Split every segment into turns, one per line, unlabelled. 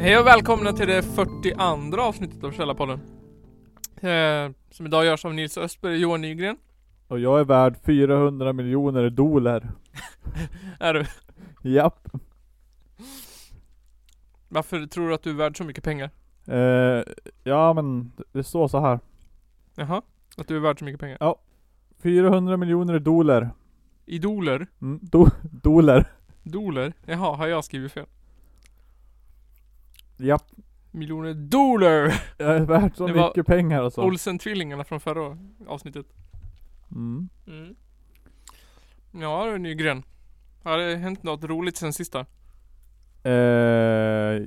Hej och välkomna till det 42 avsnittet av Källarpodden. Eh, som idag görs av Nils Östberg och Johan Nygren.
Och jag är värd 400 miljoner dollar.
Är du?
Japp.
Varför tror du att du är värd så mycket pengar?
Eh, ja men det står så här.
Jaha? Att du är värd så mycket pengar?
400 miljoner dollar.
Idoler?
Mm, do, dollar.
Doler? Jaha, har jag skrivit fel?
Japp.
Miljoner doler!
Jag är värd så
Det var-
mycket pengar alltså.
Olsen-tvillingarna från förra avsnittet.
Mm.
Mm. Ja du Nygren. Har det hänt något roligt sen sista?
Eh,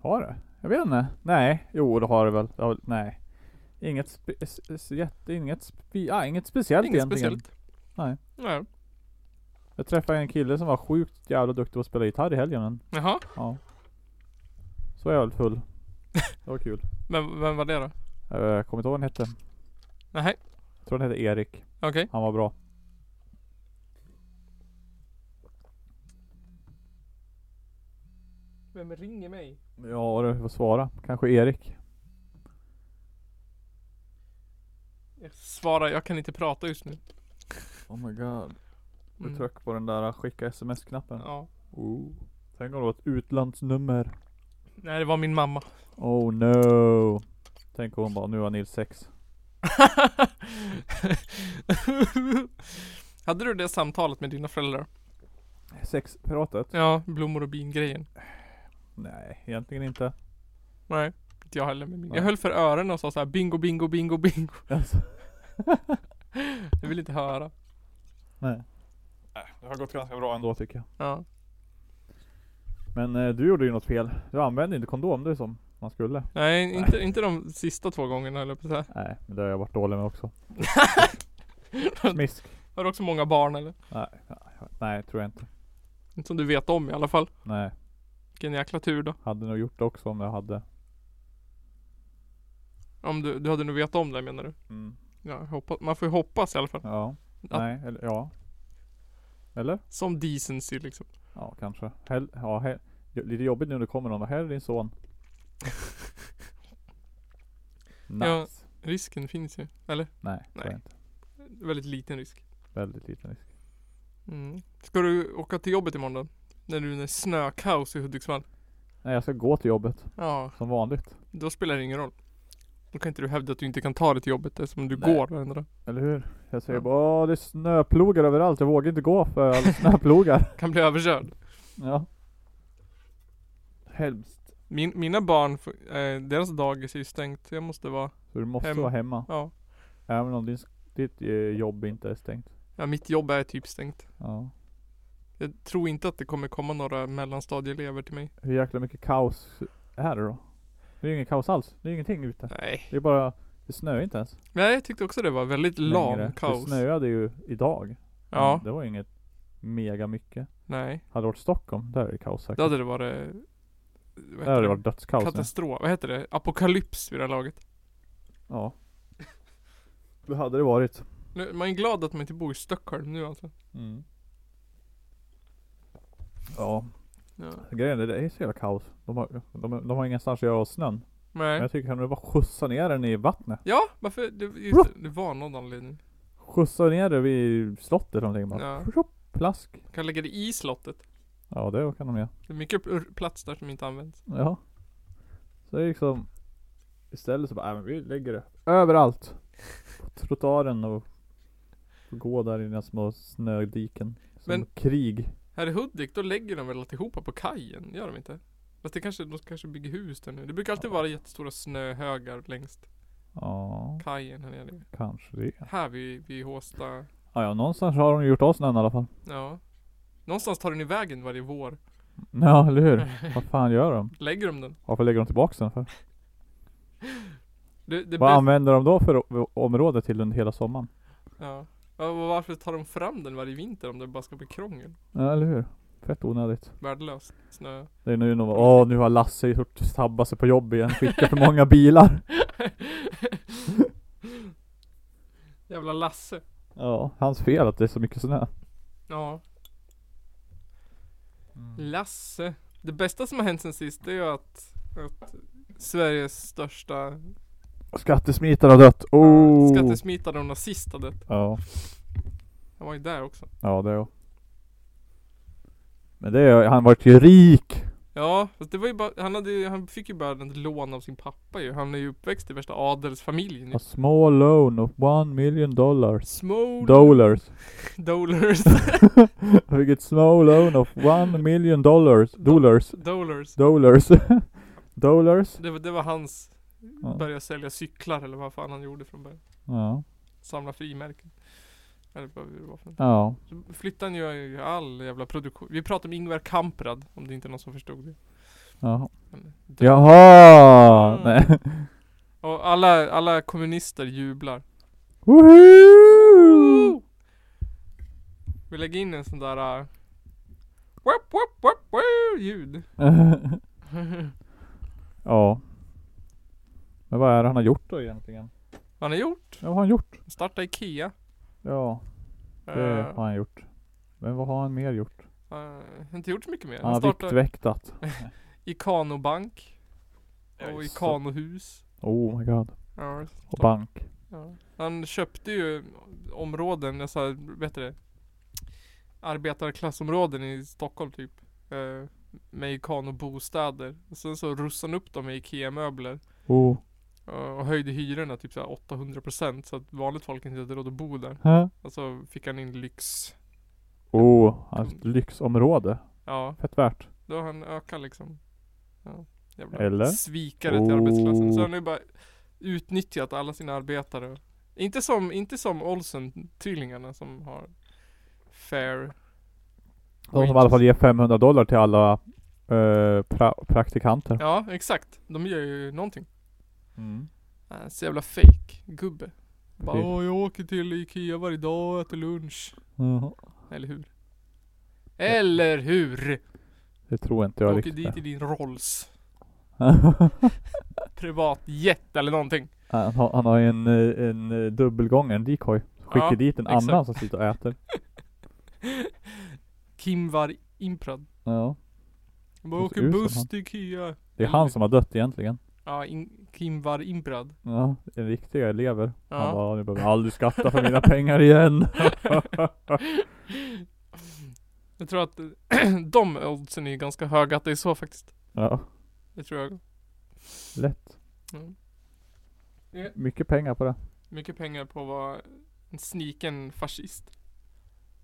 har det? Jag vet inte. Nej. Jo det har det väl. Det har, nej. Inget, spe, s- s- jätte, inget, spe, ah, inget speciellt
Inget
egentligen.
speciellt?
Nej.
Nej.
Jag träffade en kille som var sjukt jävla duktig på att spela gitarr i helgen. men
Jaha?
Ja. Så är jag väl full. Det var kul.
Vem, vem var det då?
Eh, Jag kommer inte ihåg vad han hette.
Nej.
Jag tror han hette Erik.
Okej.
Han var bra.
Vem ringer mig?
Ja du får svara. Kanske Erik.
Jag svarar, jag kan inte prata just nu.
Oh my god. Du
Mm.
tryck på den där eh, skicka sms-knappen.
Ja.
Oh. Tänk om det var ett utlandsnummer.
Nej det var min mamma.
Oh no. Tänk om hon bara, nu har Nils sex.
Hade du det samtalet med dina föräldrar?
Sexpratet?
Ja, blommor och bin grejen.
Nej, egentligen inte.
Nej, inte jag heller. Men jag
Nej.
höll för öronen och sa så här bingo, bingo, bingo, bingo.
Alltså.
Jag vill inte höra.
Nej. Det har gått ganska bra ändå tycker jag.
Ja.
Men eh, du gjorde ju något fel. Du använde inte kondom du som man skulle.
Nej, inte, inte de sista två gångerna höll jag på att
Nej, men det har jag varit dålig med också.
säga.
Smisk.
Har du också många barn eller?
Nej, tror jag inte.
Inte som du vet om i alla fall.
Nej,
Vilken jäkla tur då.
hade nog gjort det också om jag hade.
Om du, du hade nog vetat om det menar du? Ja, jag hoppas, man får ju hoppas i alla fall.
Ja.
Ja.
Nej, eller ja. Eller?
Som decency liksom.
Ja, kanske. Hell, ja, hell. Lite jobbigt nu när det kommer någon. Här är din son. nice.
Ja. Risken finns ju. Eller?
Nej, tror
Nej.
jag inte.
Väldigt liten risk.
Väldigt liten risk.
Mm. Ska du åka till jobbet imorgon då? När du är snökaos i Hudiksvall?
Nej, jag ska gå till jobbet.
Ja,
Som vanligt.
då spelar det ingen roll. Då kan inte du hävda att du inte kan ta dig till jobbet eftersom du
Nej.
går varenda dag.
Eller hur? Jag säger
Ja.
bara "Åh, det är snöplogar överallt. Jag vågar inte gå för alla snöplogar.
Kan bli överkörd.
ja. Hemskt.
Min, mina barn, får- eh, deras dagis är ju stängt. Jag måste vara,
Så du måste
Hemma.
vara hemma.
ja.
Även om din, ditt eh, jobb inte är stängt.
ja. Mitt jobb är typ stängt.
Ja.
Jag tror inte att det kommer komma några mellanstadieelever till mig.
Hur jäkla mycket kaos är det då? Det är ju ingen kaos alls. Det är ju ingenting ute.
Nej.
Det är bara, det snöar inte ens.
Nej, jag tyckte också det var väldigt lam
längre.
kaos.
Det snöade ju idag.
Ja,
Men Det var ju inget mega mycket.
nej.
Hade det varit Stockholm, där är det kaos säkert.
Då hade det varit... eh, vad heter
där hade det varit dödskaos nu.
Katastrof, vad heter det? Apokalyps vid det här laget.
Ja. Det hade det varit.
Nu, man är glad att man inte bor i Stockholm nu alltså.
Mm. Ja,
Ja.
grejen är det är så jävla kaos. De har, de, de har ingenstans att göra av snön. Men
Nej.
jag tycker kan du bara skjutsa ner den i vattnet?
Ja, varför? Det, just, det, det var någon anledning.
Skjutsa ner det vid slottet eller någonting bara.
Ja.
Plask.
Kan lägga det i slottet.
Ja, det kan de göra.
Det är mycket pl- plats där som inte används.
Ja. Så det är liksom Istället så bara, äh, men vi lägger det överallt. På trottoaren och får gå där i den små snödiken. Som
Men-
krig.
Här i Hudik, då lägger de väl alltihopa på kajen? Gör de inte? Fast det kanske, de kanske bygger hus där nu. Det brukar alltid vara jättestora snöhögar längs
Ja,
kajen här nere.
kanske det.
Här vid, vid Håsta.
Ja, ja, någonstans har de gjort av snön i alla fall.
Ja. Någonstans tar den i vägen varje vår.
Ja, eller hur? Vad fan gör de?
Lägger de den?
Varför lägger de tillbaka den för?
Det, det
Vad
bästa-
använder de då för o- område till under hela sommaren?
Ja. Ja, och Varför tar de fram den varje vinter om det bara ska bli krångel?
Ja, eller hur? Fett onödigt.
Värdelös snö.
Det är nu någon åh nu har Lasse gjort sabbat sig på jobb igen, skickat för många bilar.
Jävla Lasse.
Ja, hans fel att det är så mycket snö.
Ja, Mm. Lasse. Det bästa som har hänt sen sist det är ju att, att Sveriges största
Skattesmitare har dött.
oh.
Oh!
skattesmitare och nazist hade dött.
ja,
Han var ju där också.
ja det är Men det är, han vart ju rik.
Ja, fast det var ju bara, han, hade, ju- han fick ju bara ett lån av sin pappa ju. Han är ju uppväxt i värsta adelsfamiljen ju.
A small loan of one million dollars.
Small
Dollars.
dollars.
Han fick ett small loan of one million dollars. Dollars.
dollars.
Dollars. dollars.
Det var, det var hans,
Ja.
börja sälja cyklar eller vad fan han gjorde från början.
Ja. Samla.
Samla frimärken. Eller vad det var för något.
Ja.
Så flyttade han ju all jävla produktion. Vi pratade om Ingvar Kamprad, om det inte är någon som förstod det.
Jaha.
Men det-
Jaha!
Mm.
Nej.
Och alla, alla kommunister jublar.
Woho!
Vi lägger in en sån där... Uh, wap, wap, wap, wap, ljud.
ja. Men vad är det han har gjort då egentligen?
Han har gjort.
Ja, vad har han gjort?
Starta IKEA.
Ja, det
Eh,
har han gjort. Men vad har han mer gjort?
han har Äh, inte gjort så mycket mer.
Han
Han
har
startade
viktväktat.
Ikanobank. Och
just det.
Ikanohus.
Oh my god.
Ja,
Och
startade-
bank.
Ja. Han köpte ju områden, alltså vad heter det? Arbetarklassområden i Stockholm typ. Eh, med Ikano-bostäder. Och Sen så russade han upp dem med IKEA-möbler.
Oh.
eh, Och höjde hyrorna typ såhär 800% så att vanligt folk inte hade råd att bo där.
Huh?
Och så fick han in lyx.
Oh, hans lyxområde.
Ja,
Fett värt.
då har han ökat liksom. Ja, jävla
Eller?
Svikare till
Oh.
arbetsklassen. Så han har ju bara utnyttjat alla sina arbetare. Inte som, inte som Olsen-tvillingarna som har fair
De som i alla fall ger 500 dollar till alla eh, pra- praktikanter.
Ja, exakt. De gör ju någonting.
Mm.
Äh, Så jävla fake gubbe Bara,
Fy.
"Åh, jag åker till Ikea varje dag och äter lunch.
Mhm.
Eller hur? Eller hur?
Det tror inte jag
Jag åker dit
riktigt.
i din Rolls. Privatjet eller någonting.
han, har, han har ju en, eh, en eh, dubbelgång, en decoy. Skickar
Ja,
dit en
exakt.
annan som sitter och äter.
Kimvar Imprad.
Ja.
Jag bara
Det ser
åker
ut som
buss
han.
till Ikea.
Det är han som har dött egentligen.
Ja, in- Kimvar Imprad.
Ja, en riktiga elever. Han
Ja.
bara, ni behöver aldrig skatta för mina pengar igen.
Jag tror att de oddsen är ganska höga att det är så faktiskt.
ja,
Det tror jag.
lätt.
Mm.
Mycket pengar på det.
mycket pengar på att vara en sniken fascist.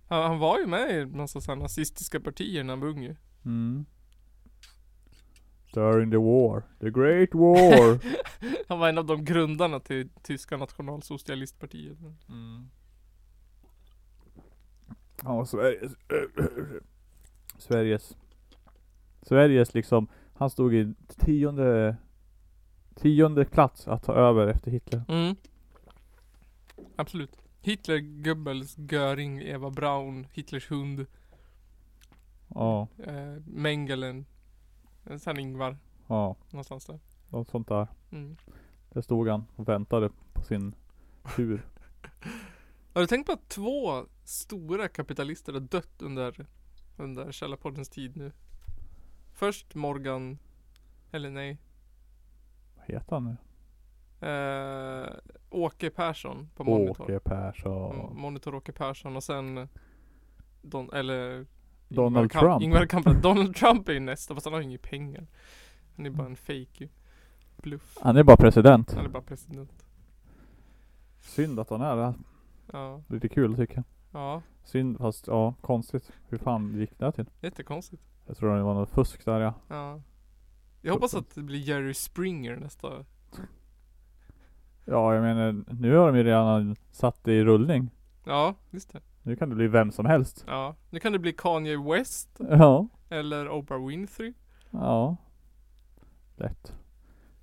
Han, han var ju med i massa sådana nazistiska partier när han var ung ju.
Mm. During the war. The great war.
Han var en av de grundarna till tyska nationalsocialistpartiet.
Han var Sveriges... Sveriges... Sveriges liksom... Han stod i tionde... Tionde plats att ta över efter Hitler.
Mm. Absolut. Hitler, Goebbels, Göring, Eva Braun, Hitlers hund,
Ja,
eh, Mengelen, eh, sen Ingvar,
ja.
någonstans där.
Något sånt där.
Mm.
Där stod han och väntade på sin tur.
Har du tänkt på att två stora kapitalister har dött under, under Källarpoddens tid nu? Först Morgan, eller nej,
Vad heter han nu?
Eh, Åke Persson på Monitor.
Åke Persson.
Mm, Monitor Åke Persson och sen eh, Don, eller
Donald
Ingvar Kamp-
Trump.
Ingvar Kamprad. Donald Trump är ju nästa fast han har ju inga pengar. Han är bara en fake ju. Bluff.
Han är bara president.
Han är bara president.
Synd att han är det.
Ja.
Lite kul tycker jag.
Ja.
Synd fast ja, konstigt. Hur fan gick det här till?
Jättekonstigt.
Jag tror det var något fusk där ja.
Ja. Jag hoppas att det blir Jerry Springer nästa.
Ja jag menar nu har de ju redan satt det i rullning.
Ja, just det.
Nu kan det bli vem som helst.
Ja. Nu kan det bli Kanye West.
Ja.
Eller Oprah Winfrey.
Ja. Lätt.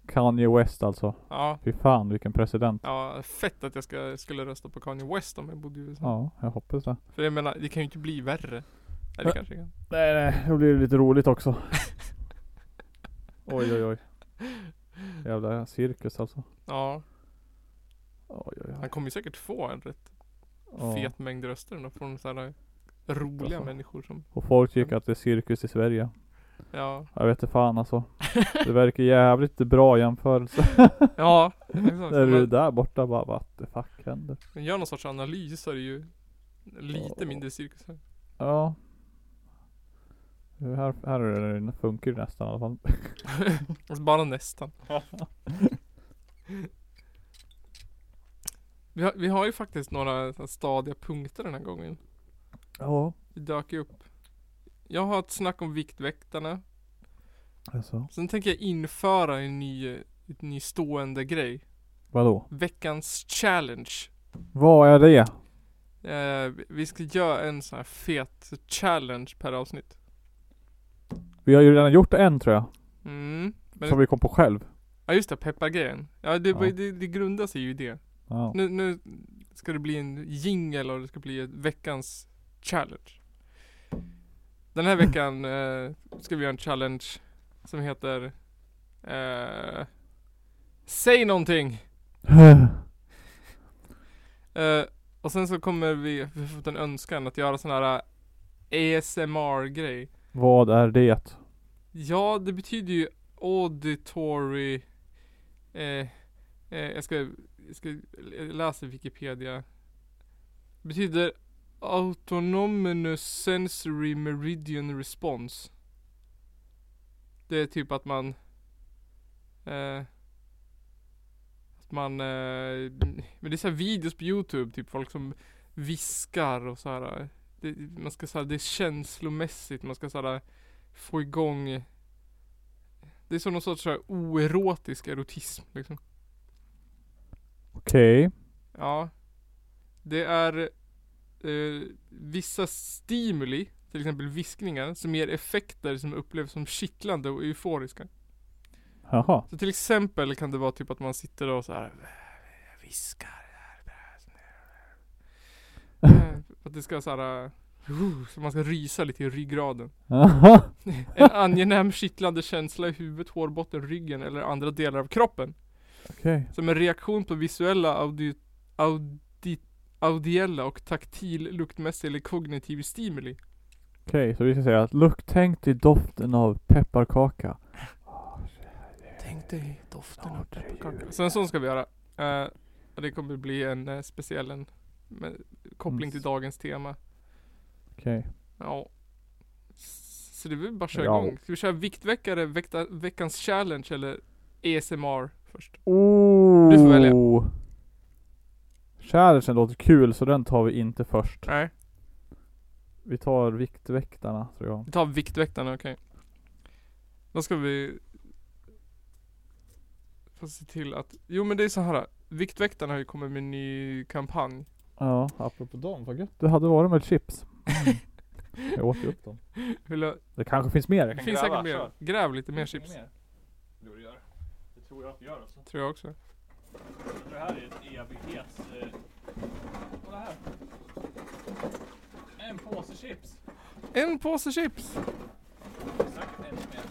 Kanye West alltså.
Ja.
Fy fan vilken president.
Ja, fett att jag ska, skulle rösta på Kanye West om jag bodde i USA.
Ja, jag hoppas det.
För jag menar, det kan ju inte bli värre. Eller kanske kan.
Nej nej, då blir det lite roligt också. oj oj oj. Jävla cirkus alltså.
Ja,
Oj oj
han
oj.
kommer ju säkert få en rätt
Ja.
fet mängd röster ändå från sådana roliga
Alltså.
människor som,
Och folk tycker att det är cirkus i Sverige.
ja,
Jag vet inte fan alltså. Det verkar jävligt bra jämförelse.
ja, exakt.
När du är
Men-
där borta bara what the fuck händer?
Men gör någon sorts analys så är det ju lite
Ja.
mindre cirkus här.
Ja. Här, här är det, funkar det nästan i alla fall.
Alltså bara nästan. vi, har, vi har ju faktiskt några så här stadiga punkter den här gången.
Ja.
Det dök ju upp. Jag har ett snack om Viktväktarna.
Alltså.
Sen tänker jag införa en ny, ett ny stående grej.
Vadå?
Veckans challenge.
Vad är det?
Eh, vi- vi ska göra en sån här fet challenge per avsnitt.
Vi har ju redan gjort en tror jag.
Mm. Men-
Som vi kom på själv.
Ja just det, peppargrejen. Ja det,
Ja.
Det, det grundar sig ju i det.
Ja.
Nu, nu ska det bli en jingle och det ska bli ett veckans challenge. Den här veckan eh, ska vi göra en challenge som heter eh, Säg någonting! Eh, och sen så kommer vi, vi har fått en önskan att göra sån här eh, ASMR-grej.
Vad är det?
Ja, det betyder ju auditory... Eh, eh, jag, ska, jag ska läsa Wikipedia. Betyder autonomous sensory meridian response. Det är typ att man... Eh, att man... Eh, men det är så här videos på Youtube, typ folk som viskar och så här. Det, man ska säga det är känslomässigt, man ska säga få igång Det är som någon sorts så här oerotisk erotism liksom.
Okej.
Ja Det är eh, Vissa stimuli Till exempel viskningar som ger effekter som upplevs som kittlande och euforiska
Jaha.
Så till exempel kan det vara typ att man sitter och så här "Äh, Viskar Eh, Att det ska så här eh, Så man ska rysa lite i ryggraden Mm.
Jaha.
En angenäm kittlande känsla i huvudet, hårbotten, ryggen eller andra delar av kroppen.
Okej.
Som en reaktion på visuella, audi, audi, audiella och taktil, luktmässig eller kognitiv stimuli.
Okej, så vi ska säga att lukt tänk till doften av pepparkaka.
Tänk dig doften
av pepparkaka.
Så en sån ska vi göra. Eh, och det kommer bli en eh, speciell en, med koppling till
Mm.
dagens tema.
Okej.
Ja. S- Så det är väl bara att köra
Ja.
igång. Ska vi köra viktväckare, vekta, veckans challenge eller ASMR först?
Oh.
Du får välja.
Challengen låter kul så den tar vi inte först.
Nej.
Vi tar Viktväktarna tror jag.
Vi tar Viktväktarna, okej. Då ska vi... Få se till att... Jo men det är så här. Viktväktarna har ju kommit med en ny kampanj.
Ja, apropå dem, vad gött det hade varit med chips.
Mm.
jag åt ju upp dem.
Vill jag...
Det kanske finns mer.
Det
kan
finns
gräva,
säkert mer.
kör.
Gräv lite mer chips.
Jo det gör det. Det tror jag att det gör alltså.
Tror jag också.
Det här är ett evighets... Eh... Kolla här. En påse chips.
En påse chips!
Säkert ännu mer.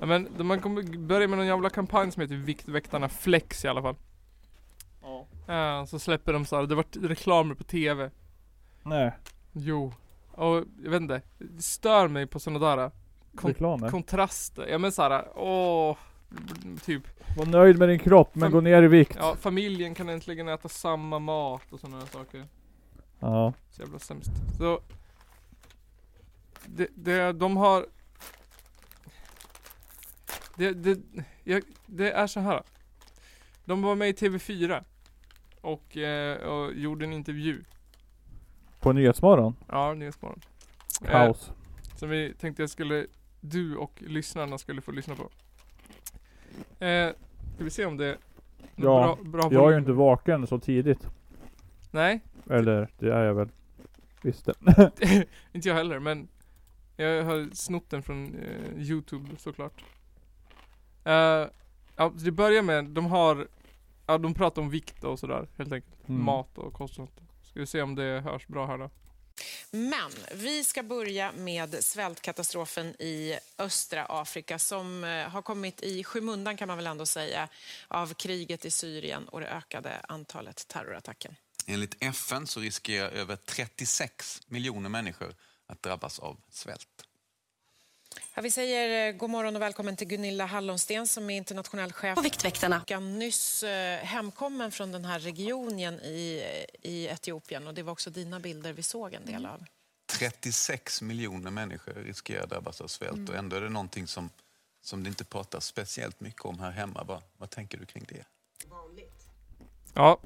Ja, men de- man kommer börja med någon jävla kampanj som heter Viktväktarna Flex i alla fall.
Ja.
Eh, så släpper de så här. det vart reklamer på TV.
Nej.
Jo. Och jag vet inte. Det stör mig på sådana där Kon-
Reklamer.
kontraster. Ja men såhär, åh. Typ.
Var nöjd med din kropp men
Fem-
gå ner i vikt.
Ja, familjen kan äntligen äta samma mat och sådana här saker.
Ja.
Så jävla sämst. Så... Det, det, de har... Det, det, jag, det är så här. De var med i TV4. Och, eh, och gjorde en intervju.
På Nyhetsmorgon.
Ja, Nyhetsmorgon. Eh,
Kaos.
som vi tänkte jag skulle, du och lyssnarna skulle få lyssna på. Eh, ska vi se om det...
Ja,
bra
jag är ju
volym?
inte vaken så tidigt.
Nej.
Eller det är jag väl. Visst det.
Inte jag heller, men jag har snott den från eh, Youtube såklart. Eh, ja, så det börjar med, de har, ja de pratar om vikt och sådär helt enkelt.
Mm.
Mat och kost och sånt. Ska vi se om det hörs bra här då.
Men vi ska börja med svältkatastrofen i östra Afrika som eh, har kommit i skymundan kan man väl ändå säga av kriget i Syrien och det ökade antalet terrorattacker.
Enligt FN så riskerar över 36 miljoner människor att drabbas av svält.
Ja, vi säger eh, god morgon och välkommen till Gunilla Hallonsten som är internationell chef
på Viktväktarna.
Jag nyss eh, hemkommen från den här regionen i, eh, i Etiopien och det var också dina bilder vi såg en del av.
36 miljoner människor riskerar att drabbas av svält och ändå är det någonting som, som det inte pratas speciellt mycket om här hemma. Vad, vad tänker du kring det?
Ja.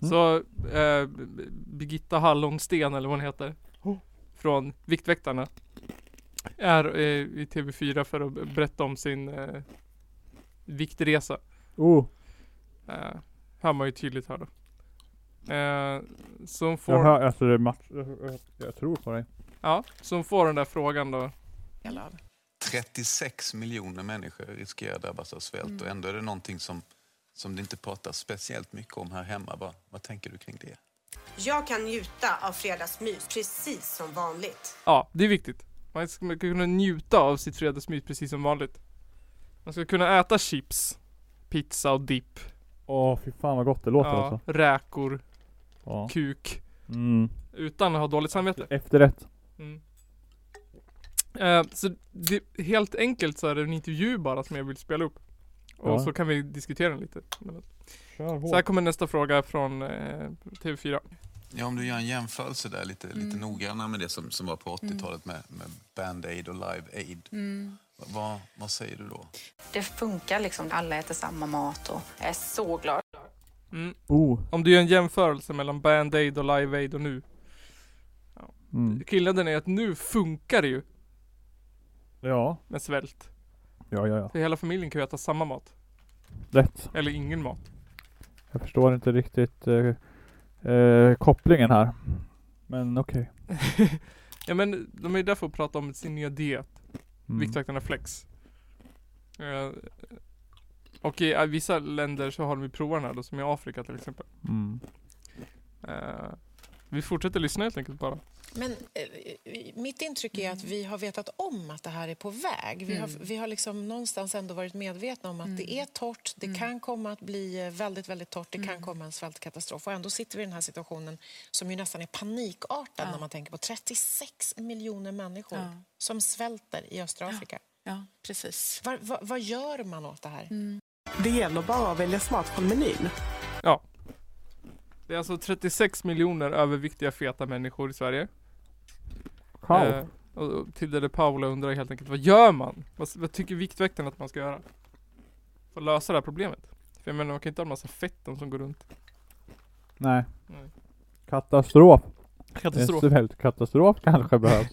Så eh, B- B- Birgitta Hallonsten eller vad hon heter. Från Viktväktarna. Är eh, i TV4 för att b- berätta om sin eh, viktresa.
Oh,
Eh, hör man ju tydligt här då. Eh, så hon
jag
får,
hör, alltså det är match. jag- jag- Jag tror på dig.
ja, så hon får den där frågan då.
del av.
36 miljoner människor riskerar att drabbas av svält och ändå är det någonting som, som det inte pratas speciellt mycket om här hemma. Vad, vad tänker du kring det?
Jag kan njuta av fredagsmys precis som vanligt.
Ja, det är viktigt. Man ska man ska kunna njuta av sitt fredagsmys precis som vanligt. Man ska kunna äta chips, pizza och dipp.
Åh fy fan vad gott det låter
Ja,
alltså.
räkor,
Ja.
kuk.
Mm.
Utan att ha dåligt samvete.
Efterrätt.
Mm. Eh, så det, helt enkelt så är det en intervju bara som jag vill spela upp. Och
Ja.
så kan vi diskutera den lite.
Kör
Så här kommer nästa fråga från eh, TV4.
Ja, om du gör en jämförelse där lite, lite noggrannare med det som, som var på 80-talet med, med Band-Aid och Live Aid. Va- Vad, vad säger du då?
Mm. Det funkar liksom, alla äter samma mat och jag är så glad.
Oh.
Mm. Om du gör en jämförelse mellan Band-Aid och Live Aid och nu.
Mm.
Skillnaden är att nu funkar det ju
Ja.
med svält.
Ja, ja, ja.
För hela familjen kan ju äta samma mat.
Rätt.
Eller ingen mat.
Jag förstår inte riktigt eh, eh, kopplingen här. Men okej.
Ja men de är ju där för att prata om sin nya diet.
Mm.
Viktväktarna Flex. Eh, och i eh, vissa länder så har de ju provat den här då, som i Afrika till exempel.
Mm.
Eh, vi fortsätter lyssna helt enkelt bara.
Men eh, mitt intryck är att
Mm.
vi har vetat om att det här är på väg. Vi har, vi har liksom någonstans ändå varit medvetna om att det
Mm.
är torrt, det kan komma att bli eh, väldigt, väldigt torrt, det
Mm.
kan komma en svältkatastrof. Och ändå sitter vi i den här situationen som ju nästan är panikartad när man tänker på 36 miljoner människor
Ja.
som svälter i östra Afrika.
Ja, precis. Mm,
Vad- vad- vad gör man åt det här?
Mm.
Det gäller bara att välja smart från menyn.
Ja. Det är alltså 36 miljoner överviktiga feta människor i Sverige.
Kaos.
Eh, och och Tilde de Paula undrar helt enkelt, vad gör man? Vad, vad tycker Viktväktarna att man ska göra? För att lösa det här problemet? För jag menar, man kan inte ha en massa fetton som går runt.
Nej.
Nej.
Katastrof.
Katastrof.
Katastrof. Katastrof kanske behövs.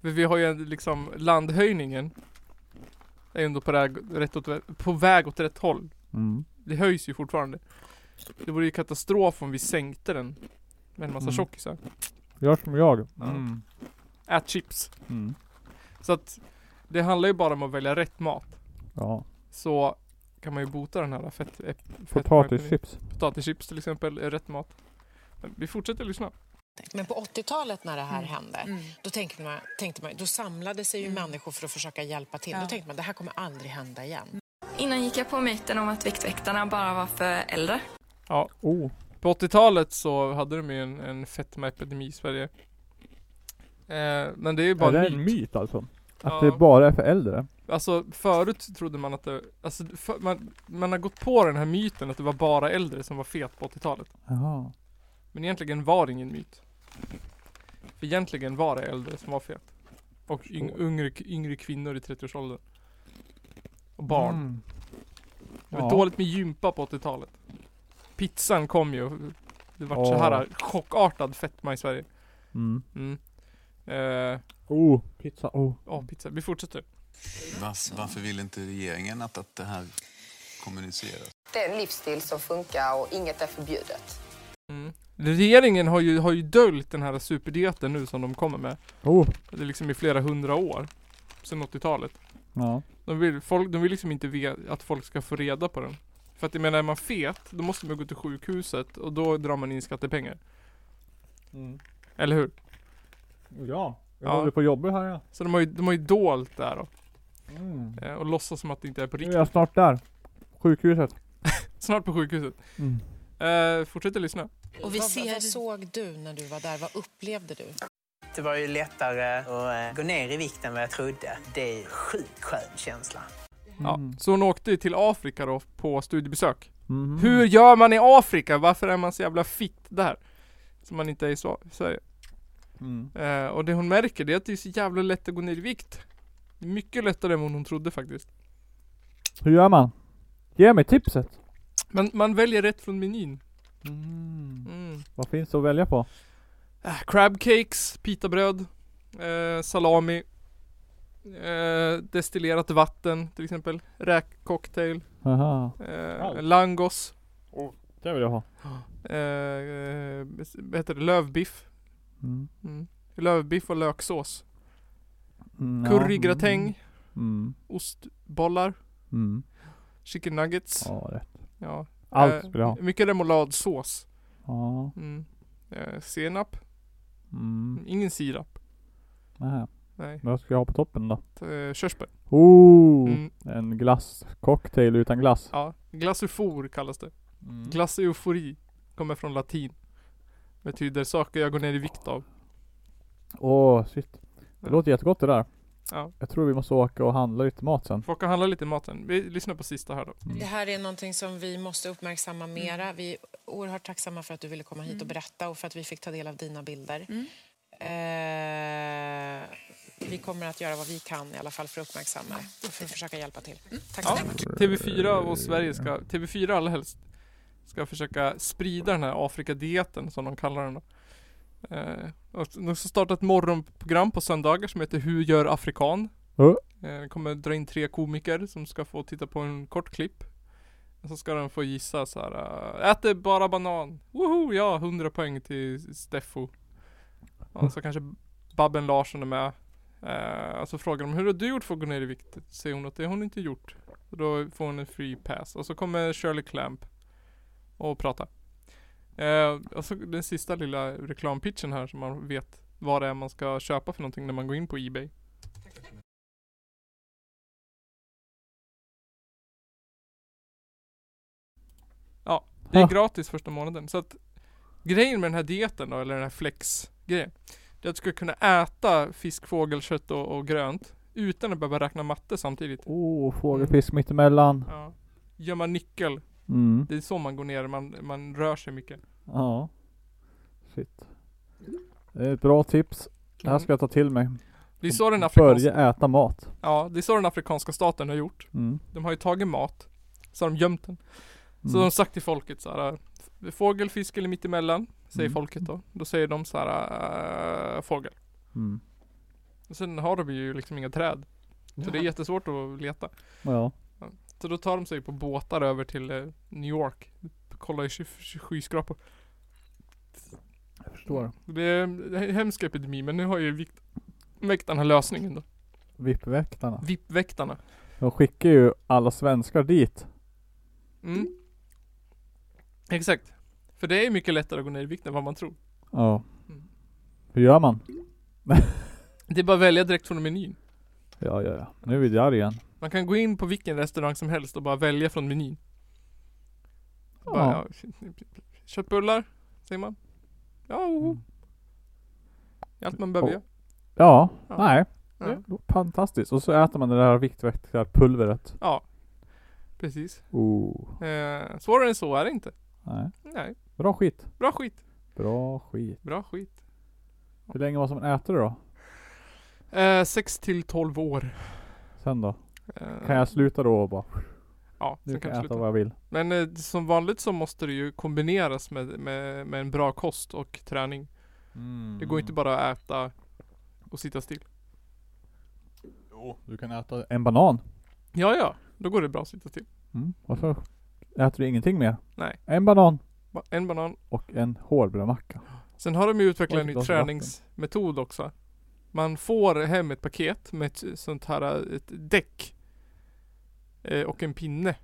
För vi har ju en, liksom landhöjningen är ju ändå på, väg, rätt åt, på väg åt rätt håll.
Mm.
Det höjs ju fortfarande. Det vore ju katastrof om vi sänkte den med en massa
Mm.
tjockisar.
Gör som jag.
Ja.
Mm.
Ät chips.
Mm.
Så att det handlar ju bara om att välja rätt mat.
Ja.
Så kan man ju bota den här fett, ep- fett,
Potatischips.
potatischips till exempel är rätt mat. Men vi fortsätter lyssna.
Men på 80-talet när det här
Mm.
hände,
Mm.
då, tänkte man, tänkte man, då samlade sig ju människor för att försöka hjälpa till. Då tänkte man det här kommer aldrig hända igen.
Innan gick jag på myten om att Viktväktarna bara var för äldre.
Oh.
På 80-talet så hade de ju en, en fetmaepidemi i Sverige. Eh, men det är ju bara
Är det
en
en
myt.
myt alltså? Att
Ja.
det bara är för äldre?
Alltså förut trodde man att det, alltså för, man, man har gått på den här myten att det var bara äldre som var fet på 80-talet.
Jaha.
Men egentligen var det ingen myt. För egentligen var det äldre som var fet. Och yng, yngre, yngre kvinnor i 30-årsåldern. Och barn.
Mm.
Det var
Ja.
dåligt med gympa på 80-talet. Pizzan kom ju och det vart så
Ja.
här chockartad fetma i Sverige.
Mm.
Mm. Eh,
Oh. Pizza. Oh.
ja, pizza. Vi fortsätter.
Vars, varför vill inte regeringen att, att det här kommuniceras?
Det är en livsstil som funkar och inget är förbjudet.
Mm. Regeringen har ju, har ju dolt den här superdieten nu som de kommer med.
Oh.
Det är liksom i flera hundra år. Sen 80-talet.
Ja.
De vill, folk, de vill liksom inte ve- att folk ska få reda på den. För att jag menar, är man fet, då måste man gå till sjukhuset och då drar man in skattepengar. Eller hur?
Ja, jag
Mm. Ja.
håller på att jobba här ja.
Så de har ju, de har ju dolt det här då.
Mm.
Eh, och låtsas som att det inte är på
Nu
riktigt.
är jag snart där. Sjukhuset.
Snart på sjukhuset.
Mm.
Eh, fortsätter lyssna.
Och vi
vad,
ser...
vad såg du när du var där? Vad upplevde du?
Det var ju lättare att eh, gå ner i vikt än vad jag trodde. Det är ju sjukt skön känsla.
Ja.
Mm.
Så hon åkte ju till Afrika då på studiebesök.
Mhm.
Hur gör man i Afrika? Varför är man så jävla fitt där? Som man inte är i Sva- Sverige.
Mm.
Eh, och det hon märker det är att det är så jävla lätt att gå ner i vikt. Det är Mycket lättare än vad hon trodde faktiskt.
Hur gör man? Ge mig tipset.
Men man väljer rätt från menyn.
Mm.
Mm.
Vad finns det att välja på?
Äh, crab cakes, pitabröd, eh, salami, eh, destillerat vatten till exempel, räkcocktail,
Aha.
eh,
Wow.
langos,
Det vill jag ha.
eh, eh, vad heter det, lövbiff,
Mm.
mm. lövbiff och löksås,
Mm, ja.
currygratäng,
Mm.
ostbollar,
Mm.
chicken nuggets. Ja.
Ja, rätt.
Ja.
Allt
Eh,
vill jag ha.
Mycket remouladsås.
Ja.
Mm. Eh, senap,
Mm.
ingen sirap.
Nähä.
Nej,
Vad ska jag ha på toppen då?
eh, körsbär.
Oh!
Mm.
En glasscocktail utan glass.
Ja, glassoufour kallas det.
Mm.
Glass och eufori kommer från latin. Betyder saker jag går ner i vikt av.
Åh, shit. Det
Ja.
låter jättegott det där.
Ja.
Jag tror vi måste åka och handla lite mat sen.
Folk kan handla lite i maten. Vi lyssnar på sista här då.
Det här är någonting som vi måste uppmärksamma mera. Vi är oerhört tacksamma för att du ville komma hit och berätta och för att vi fick ta del av dina bilder. Eh, vi kommer att göra vad vi kan i alla fall för att uppmärksamma och för att försöka hjälpa till. Tack så
Ja,
mycket.
TV4 och Sverige ska, TV4 allra helst, ska försöka sprida den här Afrikadieten som de kallar den då. Eh, och de ska starta ett morgonprogram på söndagar som heter Hur gör afrikan?
Ja.
Eh, de kommer dra in tre komiker som ska få titta på en kort klipp. Och så ska de få gissa så här. eh, Äter bara banan. Woho, ja 100 poäng till Steffo. Ja, så kanske Babben Larsson är med. Eh, och så frågar de hur har du gjort för att gå ner i vikt? Säger hon att det har hon inte gjort. Så då får hon en free pass. Och så kommer Shirley Clamp och prata. Eh, och så den sista lilla reklampitchen här så man vet vad det är man ska köpa för någonting när man går in på Ebay. Ja, det är
Ah.
gratis första månaden. Så att grejen med den här dieten då, eller den här flex-grejen. Det är att du ska kunna äta fisk, fågel, kött och, och grönt. Utan att behöva räkna matte samtidigt.
Åh,
Mm.
oh, fågelfisk mittemellan.
Ja. Gömma nyckel.
Mm.
Det är så man går ner, man, man rör sig mycket.
Ja. Shit. Det är ett bra tips. Det här ska jag ta till mig.
Mm. Det är så den afrikanska,
Börja äta mat.
ja, det är så den afrikanska staten har gjort.
Mm.
De har ju tagit mat, så har de gömt den. Så
Mm.
de har sagt till folket så här. äh, Fågel, fisk eller mittemellan, säger
Mm.
folket då. Då säger de så här, äh, fågel.
Mm.
Och sen har de ju liksom inga träd. Så det är jättesvårt att leta.
Ja.
Så då tar de sig på båtar över till eh, New York. Kollar i sky- sky- skyskrapor.
Jag förstår.
Det är en hemsk epidemi men nu har ju vikt- väktarna lösningen då.
VIP-väktarna.
VIP-väktarna.
De skickar ju alla svenskar dit.
Mm. Exakt. För det är mycket lättare att gå ner i vikt än vad man tror.
Ja.
Mm.
Hur gör man?
Det är bara att välja direkt från menyn.
Ja, ja, ja. Nu är vi där igen.
Man kan gå in på vilken restaurang som helst och bara välja från menyn. Bara, ja.
Ja.
köttbullar, säger man. Ja, oho. Det är Allt man behöver
Och-
göra.
Ja,
Ja.
nej.
Ja.
Det är fantastiskt. Och så äter man det där viktväktarpulveret.
Ja, precis.
Oh.
Eh, svårare än så är det inte.
Nej.
Nej,
Bra skit.
bra skit.
Bra skit.
Bra skit.
Hur länge måste man äta det då?
Eh, 6 till 12 år.
Sen då?
Eh,
Kan jag sluta då och bara
Ja,
nu
sen kan
kan
du
jag äta
sluta.
vad jag vill?
Men eh, som vanligt så måste det ju kombineras med, med, med en bra kost och träning. Det går
Mm.
inte bara att äta och sitta still.
Du kan äta en banan.
Ja, ja, då går det bra att sitta still.
Mm. Och så äter du ingenting mer.
Nej.
En banan
Ba- En banan.
och en hårbrödmacka.
Sen har de ju utvecklat en
Oj,
ny
glas
träningsmetod också. Man får hem ett paket med ett sånt här eh, ett däck. Eh, och en pinne.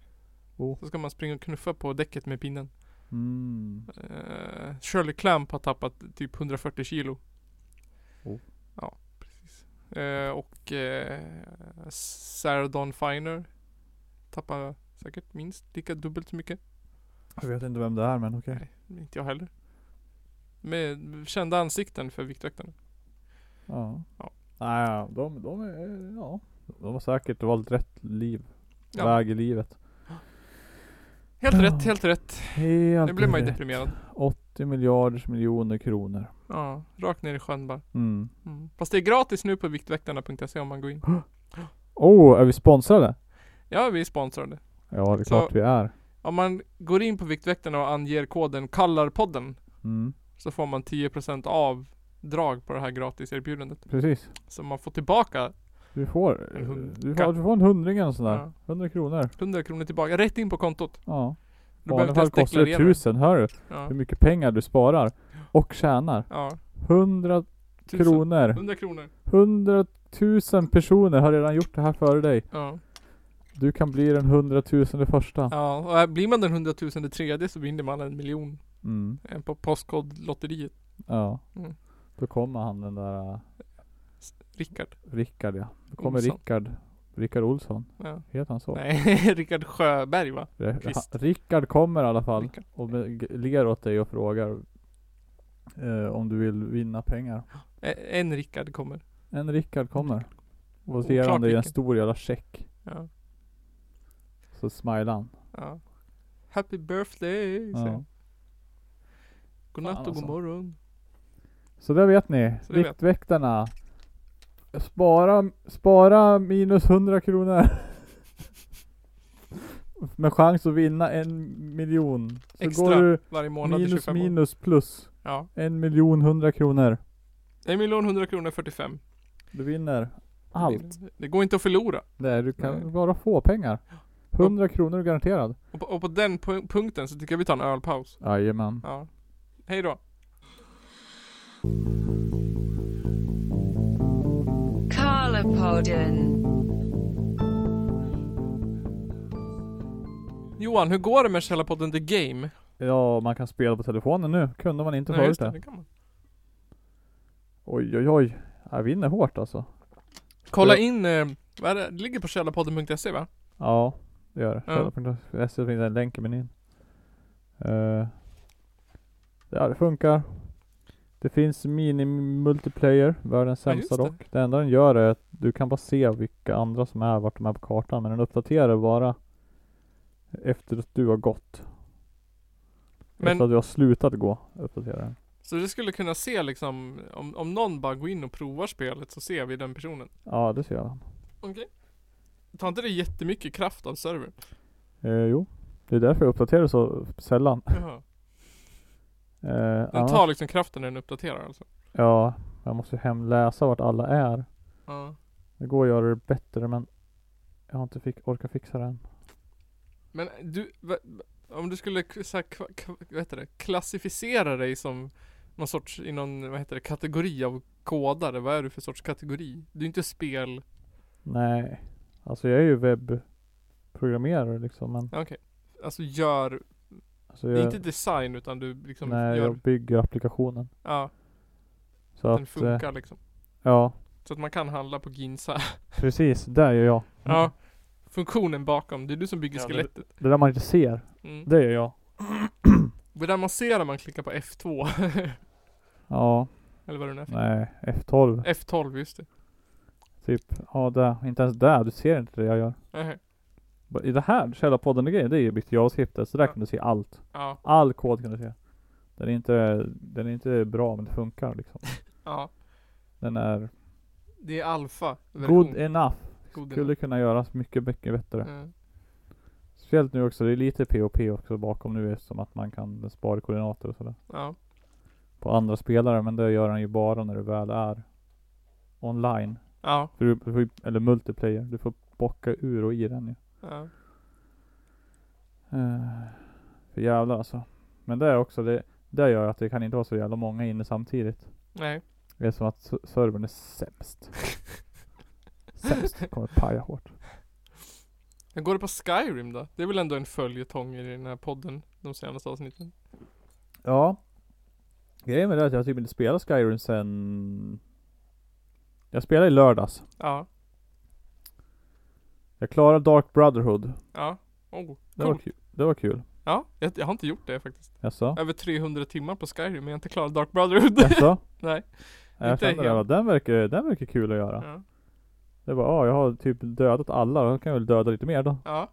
Oh.
Så ska man springa och knuffa på däcket med pinnen.
Mm.
Eh, Shirley Clamp har tappat typ 140 kilo.
Oh.
Ja, precis. Eh, och eh, Sarah Dawn Finer tappar säkert minst lika dubbelt så mycket.
Jag vet inte vem det är men okej.
Nej, inte jag heller. Med kända ansikten för Viktväktarna.
Ja.
Ja.
Nej, ja, de, de är, ja. De har säkert valt rätt liv.
Ja.
Väg i livet.
Helt
Ja.
rätt, helt rätt.
Helt
Nu blev man ju
rätt.
deprimerad.
80 miljarders miljoner kronor.
Ja, rakt ner i sjön bara.
Mm.
Mm. Fast det är gratis nu på Viktväktarna.se om man går in.
Oh, är vi sponsrade?
Ja, vi är sponsrade.
Ja, det är
Så-
klart vi är.
Om man går in på Viktväktarna och anger koden KALLARPODDEN
Mm.
så får man 10% avdrag på det här gratiserbjudandet.
Precis.
Så man får tillbaka
Du får, eh,
En hund-
du får, du får en hundring eller sådär.
Ja.
100 kronor.
100 kronor tillbaka, rätt in på kontot.
Ja. I
Du behöver
vanliga
inte
fall
ens
kostar det
deklarera.
tusen. Hör du
Ja,
hur mycket pengar du sparar och tjänar?
ja.
100
Tusen.
kronor.
100 kronor.
100 000 personer har redan gjort det här före dig.
Ja.
Du kan bli den 100 000 första.
ja, och här blir man den 100 000 tredje så vinner man en miljon
Mm.
eh, på Postkodlotteriet.
Ja.
Mm.
Då kommer han den där äh,
Rickard.
Rickard ja. Då kommer
Olsson.
Rickard. Rickard Olsson.
Ja.
Heter han så?
Nej, Rickard Sjöberg va?
Re-
Christ.
han- Rickard kommer i alla fall
Rickard.
och med- g- ler åt dig och frågar eh, om du vill vinna pengar.
Eh, En Rickard kommer.
En Rickard kommer. Och så
Oklart
ger han dig en
vilken.
stor jävla check.
Ja.
Så smilar han.
ja. Happy birthday!
Ja.
Ja. Godnatt
Fan,
och
alltså.
god morgon.
Så det vet ni.
Så det vet-
Viktväktarna. Spara, spara minus 100 kronor. Med chans att vinna en miljon. Så går
Extra
du
varje månad i
minus
25 år.
minus plus.
Ja.
En miljon hundra kronor.
En miljon 100 kronor 45.
Du vinner allt.
Det går inte att förlora.
Nej, du kan
Nej.
bara få pengar. 100 kronor garanterad.
Och på, och på den pu- punkten så tycker jag vi tar en ölpaus.
Jajamän.
Ja. Hej då. Johan, hur går det med Källarpodden The Game?
Ja, man kan spela på telefonen nu. Kunde man inte
Nej,
förut
just det,
det.
det kan man.
Oj, oj, oj. Jag vinner hårt alltså.
Kolla in, eh, vad är det? det ligger på källarpodden.se va?
Ja, det gör det.
Ja.
Ja. finns en länk i menyn. Uh, ja, det funkar. Det finns mini-multiplayer, världens
Ja,
sämsta
just det.
dock. Det enda den gör är att du kan bara se vilka andra som är, vart de är på kartan. Men den uppdaterar bara efter att du har gått.
Men,
Efter att du har slutat gå, uppdaterar den.
så du skulle kunna se liksom, om, om någon bara går in och provar spelet så ser vi den personen.
Ja, det ser jag.
Okej. Tar inte det jättemycket kraft av servern?
Eh, jo, det är därför jag uppdaterar så sällan.
Jaha.
Eh,
Den
annars-
tar liksom kraften när den uppdaterar alltså?
Ja, jag måste hem läsa vart alla är.
Ja.
Det går att göra det bättre men jag har inte fick, orkat fixa den.
Men du, va- va- om du skulle k- så här, kva- kva- vad heter det, klassificera dig som någon sorts, i någon, vad heter det, kategori av kodare, vad är du för sorts kategori? Du är inte spel...
Nej. Alltså jag är ju webbprogrammerare liksom men
Ja, Okej. Alltså gör,
alltså
det är
jag,
inte design utan du liksom
nej,
gör,
jag bygger applikationen.
ja,
Så
den
att, eh,
funkar liksom.
ja
Så att man kan handla på Ginza.
Mm. precis, där gör jag.
Ja. Funktionen bakom, det är du som bygger
Ja, det-
skelettet.
Det där man inte ser,
Mm.
det gör jag.
Det där man ser när man klickar på F2.
Ja,
Eller vad det nu är för.
nej, F12
F12, just det.
typ. Ja, där. Inte ens där, du ser inte det jag gör.
Nähä.
Bara I det här källarpodden och grejen, det är ju mitt JavaScript, så där
Ja.
kan du se allt.
Ja,
All kod kan du se. Den är inte, den är inte bra men det funkar liksom.
ja.
Den är
Det är alfa.
good enough.
God
Skulle kunna göras mycket, mycket bättre.
Mm.
Speciellt nu också, det är lite POP också bakom nu eftersom att man kan spara koordinater och sådär.
Ja.
På andra spelare, men det gör han ju bara när du väl är online.
Ja.
För du, du- eller multiplayer, du får bocka ur och i den ju.
ja.
Eh, För jävlar alltså. Men det är också, det, det gör att det kan inte vara så jävla många inne samtidigt.
Nej.
Det är som att s- servern är sämst. sämst. Kommer paja hårt.
Men går det på Skyrim då? Det är väl ändå en följetong i den här podden de senaste avsnitten?
Ja. Grejen med det är att jag typ inte spelat Skyrim sen Jag spelade i lördags.
Ja.
Jag klarade Dark Brotherhood.
Ja. Oh,
Det var
cool.
kul. Det var kul.
Ja, jag, jag har inte gjort det faktiskt.
Jaså?
Över 300 timmar på Skyrim, men jag har inte klarat Dark Brotherhood.
Jaså?
Nej.
Ja, Jag
Inte
kände
helt.
det. Den verkar, den verkar kul att göra.
Ja.
Det var, ja, jag har typ dödat alla. Då kan jag väl döda lite mer då.
Ja.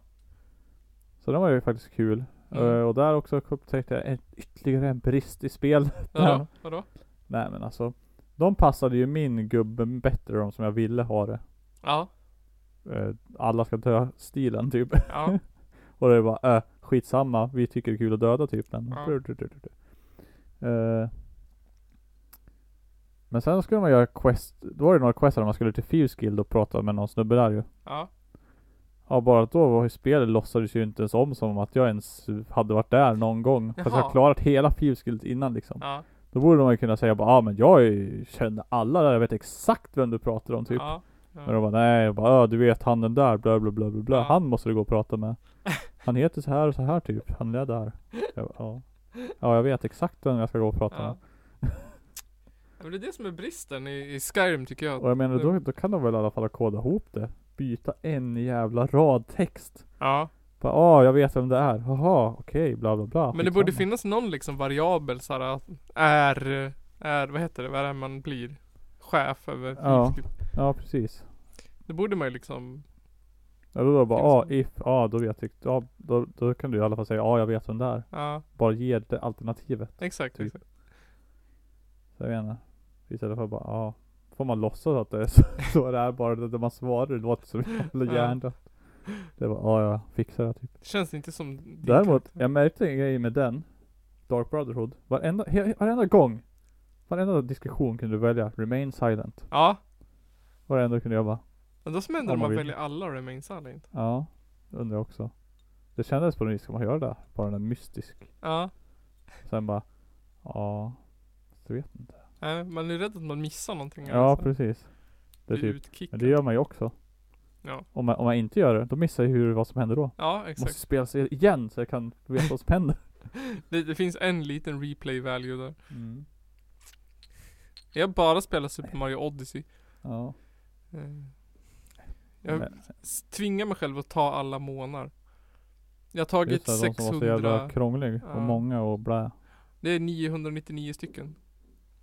Så den var ju faktiskt kul.
Mm.
Eh, Och där också upptäckte jag en, ytterligare en brist i spel.
Vadå? Vadå?
Nej men alltså. De passade ju min gubbe bättre de som jag ville ha det.
Ja.
Eh, Alla ska dö stilen typ.
Ja.
Och det var äh, skitsamma, vi tycker det är kul att döda typ men.
Ja.
Brr, brr, brr, brr. Eh, men sen skulle man göra quest, då var det några quest där man skulle till Fuse Guild och prata med någon snubbe där ju.
Ja.
Ja bara att då var ju spelet låtsades ju inte ens om som att jag ens hade varit där någon gång. Fast jag
Jaha.
har klarat hela Fuse Guild innan liksom.
Ja.
Då borde man ju kunna säga bara ah, men jag är ju- känner alla där, jag vet exakt vem du pratar om typ.
Ja.
Men de bara nej, jag bara, "Ah, du vet han den där, bla bla bla bla, bla.
Ja.
han måste du gå och prata med. Han heter så här och så här typ, han är där. Jag bara, ja. ja, jag vet exakt vem jag ska gå och prata
Ja.
med.
Ja, Men det är det som är bristen i, i Skyrim tycker jag.
Och jag menar då, då kan de väl i alla fall koda ihop det. Byta en jävla rad text.
Ja.
Bara, ah, jag vet vem det är, jaha, okej, bla bla bla.
Men det borde
Skitsamma.
finnas någon liksom variabel såhär att är, är, vad heter det, vad är det man blir? Chef över
Ja.
Fuse Guild.
Ja, precis.
Det borde man ju liksom,
Ja, då bara,
Finns
ah,
det.
if, ah, då vet jag, ja, då, då kan du i alla fall säga, ja, ah, jag vet vem det är.
ja
Bara ge det alternativet.
exakt.
Typ.
exakt.
Så jag menar. Istället för att bara, ja. Får man låtsas att det är så, så det är bara det, det man svarar, det låter så jävla
Ja.
hjärndött. Det var "Ah, ja jag fixar det typ.
Det känns inte som din
Däremot,
karaktär.
jag märkte en grej med den, Dark Brotherhood. Varenda, he, varenda gång, varenda diskussion kunde du välja Remain Silent.
Ja.
Varenda kunde jag bara,
Men då som händer
Om
om
man
man
vill.
väljer alla Remain Silent.
ja, undrar jag också. Det kändes på något vis, ska man göra det? Bara den är mystisk.
Ja.
Sen bara, ja, jag vet inte.
Nej, Man är rädd att man missar någonting.
Ja, precis. Det är
Blir
typ Men
utkickad.
det gör man ju också.
Ja.
Om, man, om man inte gör det, då missar jag ju hur- vad som händer då.
Ja,
Jag måste
exakt.
spela sig igen så jag kan veta vad som händer.
Det, det finns en liten replay value där. Jag har bara spelar Super Mario Odyssey.
Ja.
Eh, Jag
Men,
s- tvingar mig själv att ta alla månar. Jag har tagit
just det, de som var så
600,
jävla krånglig
Ja.
och många och blä.
det är 999 stycken.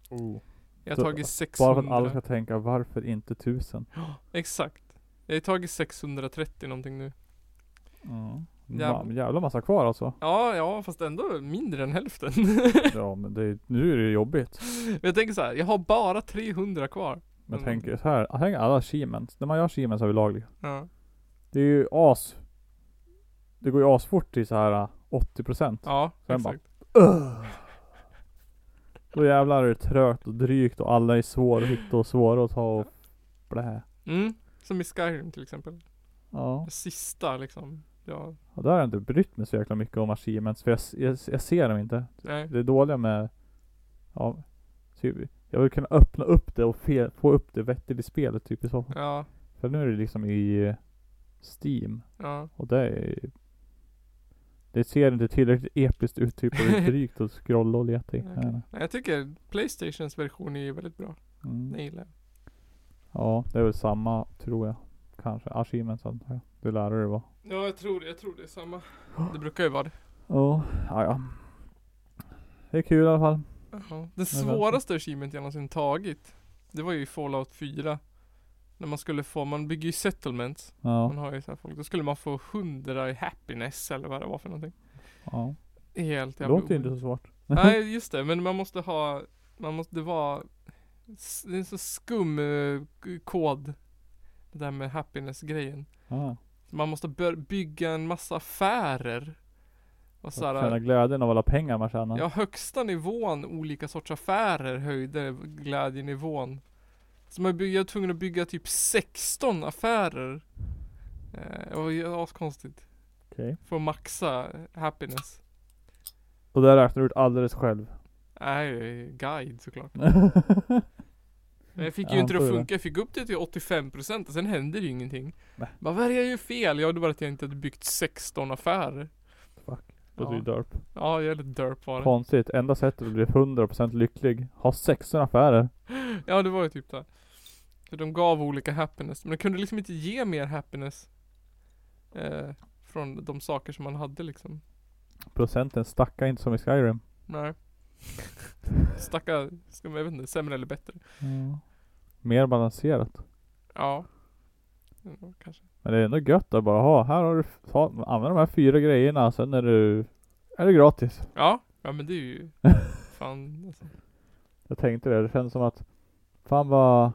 Oh, Jag har
Så,
tagit
Bara för att alla
600.
ska tänka, varför inte tusen?
Exakt. Jag har tagit 630 någonting nu.
Ja.
Jävlar.
Ma- jävla massa kvar alltså.
Ja, ja, fast ändå mindre än hälften.
Ja men det, är- nu är det ju jobbigt.
Men jag tänker så här, jag har bara 300 kvar.
Men
Mm.
tänk så här, tänk alla achievements. När man gör achievements överlag. liksom.
Ja.
Det är ju as... Det går ju asfort till så här äh, 80%.
Ja,
Sen bara-
exakt.
Då jävlar är det trögt och drygt och alla är svåra att hitta och svåra att ta och blä.
Mm. Som i Skyrim till exempel.
Ja.
Sista liksom. Ja,
Och där har jag inte brytt mig så jäkla mycket om achievements för jag, s- jag, s- jag ser dem inte.
nej.
Det är dåliga med... Ja, typ, jag vill kunna öppna upp det och fe, få upp det vettigt i spelet typ i så fall.
Ja,
För nu är det liksom i eh, Steam
ja.
och det är... Det ser inte tillräckligt episkt ut typ och det är drygt att scrolla och leta i.
Okej. Nej, jag tycker Playstations version är väldigt bra.
Mm.
Den gillar jag.
Ja, det är väl samma tror jag. Kanske. Achievements antar jag. Det lär det vara.
Ja, jag tror, jag tror det är samma. Det brukar ju vara det.
Ja, ja, ja. Det är kul i alla fall.
Ja. Den svåraste achievement jag någonsin tagit. Det var ju i Fallout 4. När man skulle få, man bygger ju settlements.
Ja.
Man har ju så här folk. Då skulle man få 100 i happiness eller vad det var för någonting.
ja.
Helt
Det
jävla
låter ju inte
omöjligt.
så svårt.
Nej just det, men man måste ha, man måste vara, s- det är en så skum eh, k- kod. Det där med happiness grejen.
Ja.
Man måste bör- bygga en massa affärer. Och
Att känna
såhär,
glädjen av alla pengar man tjänar.
ja högsta nivån olika sorts affärer höjde glädjenivån. Så man by- jag var tvungen att bygga typ 16 affärer. Eh, det var ju askonstigt.
Okej.
För att maxa eh, happiness.
Och det räknar du ut alldeles själv.
Nej, guide såklart. Men jag fick ju
Ja,
inte det att
antar det.
funka. Jag fick upp det till 85% och sen hände det ju ingenting.
Nej.
Bara, vad är det jag gör fel? Ja, det var att jag inte hade byggt 16 affärer.
Fuck. Det är
Ja.
ju derp.
Ja, jag är lite derp var det.
Konstigt. Enda sättet att bli 100% lycklig. Ha 16 affärer.
Ja, det var ju typ det. Så de gav olika happiness, men de kunde liksom inte ge mer happiness eh, från de saker som man hade liksom.
Procenten stackar inte som i Skyrim.
Nej. Stacka, ska man, jag vet inte, sämre eller bättre.
Mer balanserat.
Ja. Mm, Kanske.
Men det är ändå gött att bara ha. Här har du, ta, använd de här fyra grejerna sen är du, är det gratis.
Ja, ja men det är ju fan alltså.
Jag tänkte det, det känns som att fan vad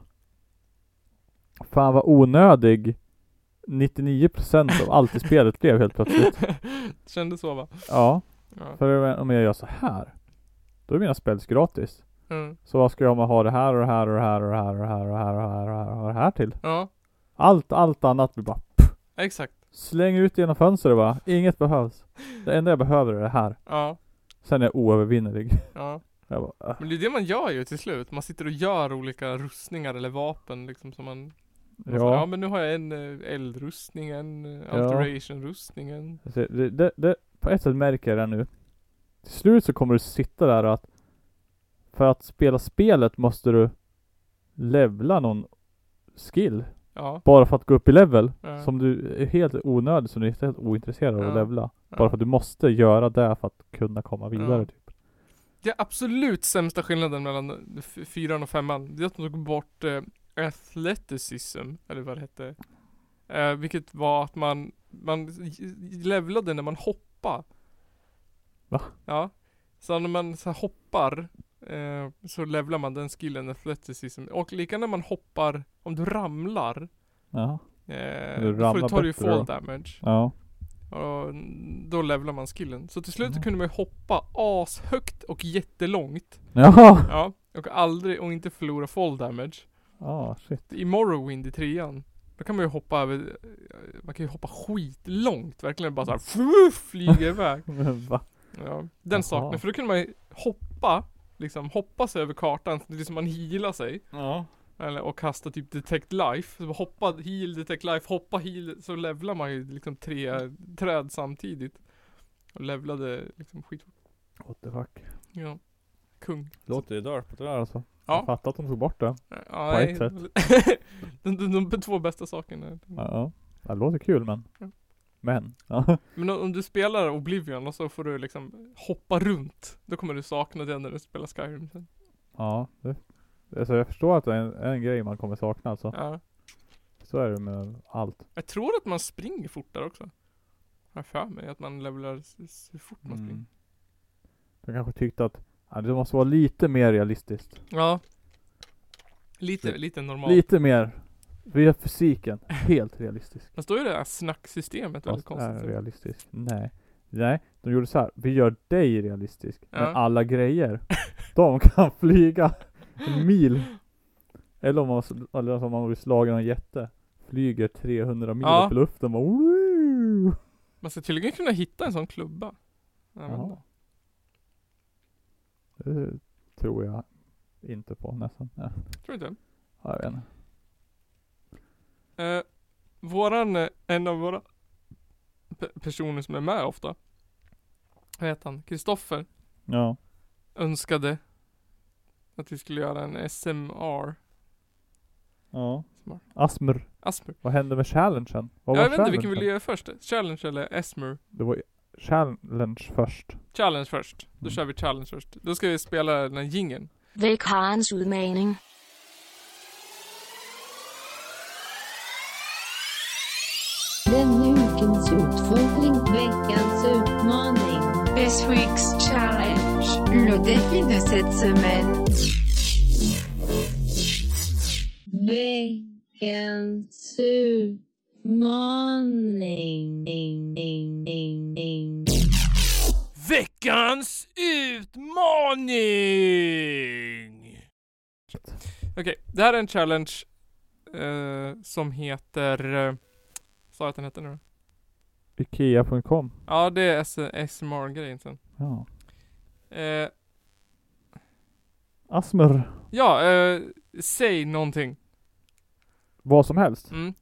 fan vad onödig 99% av allt i spelet blev helt plötsligt.
Kände så va?
Ja,
Ja.
för om jag gör så här då är mina spels gratis.
Mm.
Så vad ska jag ha det här och det här och det här och det här och det här och det här och det här och det här, och det här till?
ja,
Allt, allt annat blir bara
exakt.
släng ut genom fönstret va. Inget behövs. Det enda jag behöver är det här.
Ja,
Sen är jag oövervinnerlig.
ja.
Jag bara, äh,
Men det är det man gör ju till slut. Man sitter och gör olika rustningar eller vapen liksom som man Man sa, ja
ja.
men nu har jag en eh, eldrustning, en eh,
Ja.
alteration-rustning, en...
Alltså, Det, det, det, på ett sätt märker jag det nu. Till slut så kommer du sitta där och att för att spela spelet måste du levla någon skill.
Ja.
Bara för att gå upp i level.
ja.
Som du är helt onödig, som du är helt ointresserad av
Ja.
att levla.
Ja.
Bara för att du måste göra det för att kunna komma vidare
Ja.
typ.
Det är absolut sämsta skillnaden mellan f- fyran och femman. Det är att de tog bort eh, athleticism, eller vad det hette. Eh, vilket var att man, man j- levlade när man hoppade.
Va?
Ja. Så när man så här hoppar, eh, så levlar man den skillen, athleticism. Och lika när man hoppar, om du ramlar,
Ja.
eh, då
Du
får du
ramlar
tar du ju
bättre
fall
då.
damage.
Ja.
Och då levlar man skillen. Så till slut
Mm.
kunde man ju hoppa ashögt och jättelångt.
Jaha!
Ja. Och aldrig, och inte förlora fall damage.
Ja, shit.
I Morrowind i trean. Då kan man ju hoppa över, eh, man kan ju hoppa skitlångt. Verkligen bara såhär flyga iväg.
Men va?
Ja.
Jaha.
Den saknar, för då kunde man ju hoppa, liksom hoppa sig över kartan. Det är som man healar sig.
Ja.
Eller, och kasta typ detect life. Så hoppa heal, detect life, hoppa heal. Så levlar man ju liksom tre träd samtidigt. Och levlade liksom skitfort.
What the fuck.
Ja. Kung.
Låter det dörpigt det där alltså.
Ja. Mm.
Jag fattar att de tog bort det.
Ja,
På
nej.
ett sätt.
de, de, de två bästa sakerna.
Ja. ja. Det låter kul men.
Ja.
Men. Ja.
Men om om du spelar Oblivion och så får du liksom hoppa runt. Då kommer du sakna det när du spelar Skyrim sen.
Ja, det, alltså jag förstår att det är en, en grej man kommer sakna alltså.
Ja.
Så är det med allt.
Jag tror att man springer fortare också. Har jag för mig. Att man levlar s- s- hur fort man springer.
Mm. De kanske tyckte att ja, det måste vara lite mer realistiskt.
Ja. Lite,
Det-
lite normalt.
Typ. Lite mer. Vi har fysiken helt realistisk.
Fast då är det här snacksystemet väldigt
Fast
konstigt.
är
tycker jag.
realistisk. Nej. Nej, de gjorde så här. Vi gör dig realistisk.
Ja.
Men alla grejer, de kan flyga en mil. Eller om man, eller om man blir slagen av en jätte. Flyger 300 mil
Ja.
upp i luften. Bara, "Woo!"
Man ska tydligen kunna hitta en sån klubba. Jag vet
Jaha.
inte.
Det tror jag inte på nästan. Ja,
Tror du inte?
ja, jag vet inte.
Eh, våran, eh, en av våra pe- personer som är med ofta. Vad heter han? Kristoffer.
Ja.
Önskade att vi skulle göra en SMR.
ja.
Smart.
Asmr,
Asmer.
vad hände med challengen? Vad
Ja,
var
jag vet inte vilken
challengen?
vi vill göra först. Challenge eller Esmer?
Det var challenge först.
Challenge först. Då
Mm.
kör vi challenge först. Då ska vi spela den här jingeln.
Vekarens udmaning.
Denna ukens utfordring, veckans utmaning. This week's challenge. Le défi de cette semaine. Veckans utmaning.
Veckans utmaning! Okej, det här är en challenge eh, som heter... eh, Sa jag att den hette nu då?
Ikea.com.
Ja, det är S- SMR-grejen sen.
Ja.
Eh,
Asmr,
ja, eh, säg någonting.
vad som helst.
Mm.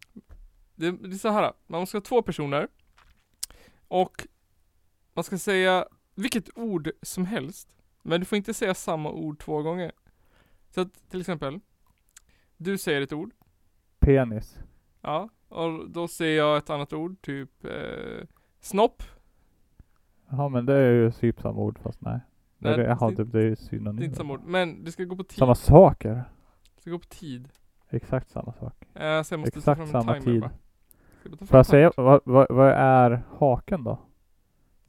Det, det är så här. man ska ha två personer. Och man ska säga vilket ord som helst. Men du får inte säga samma ord två gånger. Så att till exempel, du säger ett ord.
Penis.
Ja, och då ser jag ett annat ord, typ eh, snopp.
Jaha men det är ju typ samma ord fast nej.
Nej,
Nej, det, jaha,
det-
typ, det är ju
Det är
synonymer.
inte samma ord, men det ska gå på tid.
Samma saker.
Det ska gå på tid.
Exakt samma sak.
Eh, så jag måste ta
Exakt
fram en
samma
timer
tid.
bara. Ska jag ta
Får
fram
jag säga,
timer?
vad, vad, vad är haken då? Ska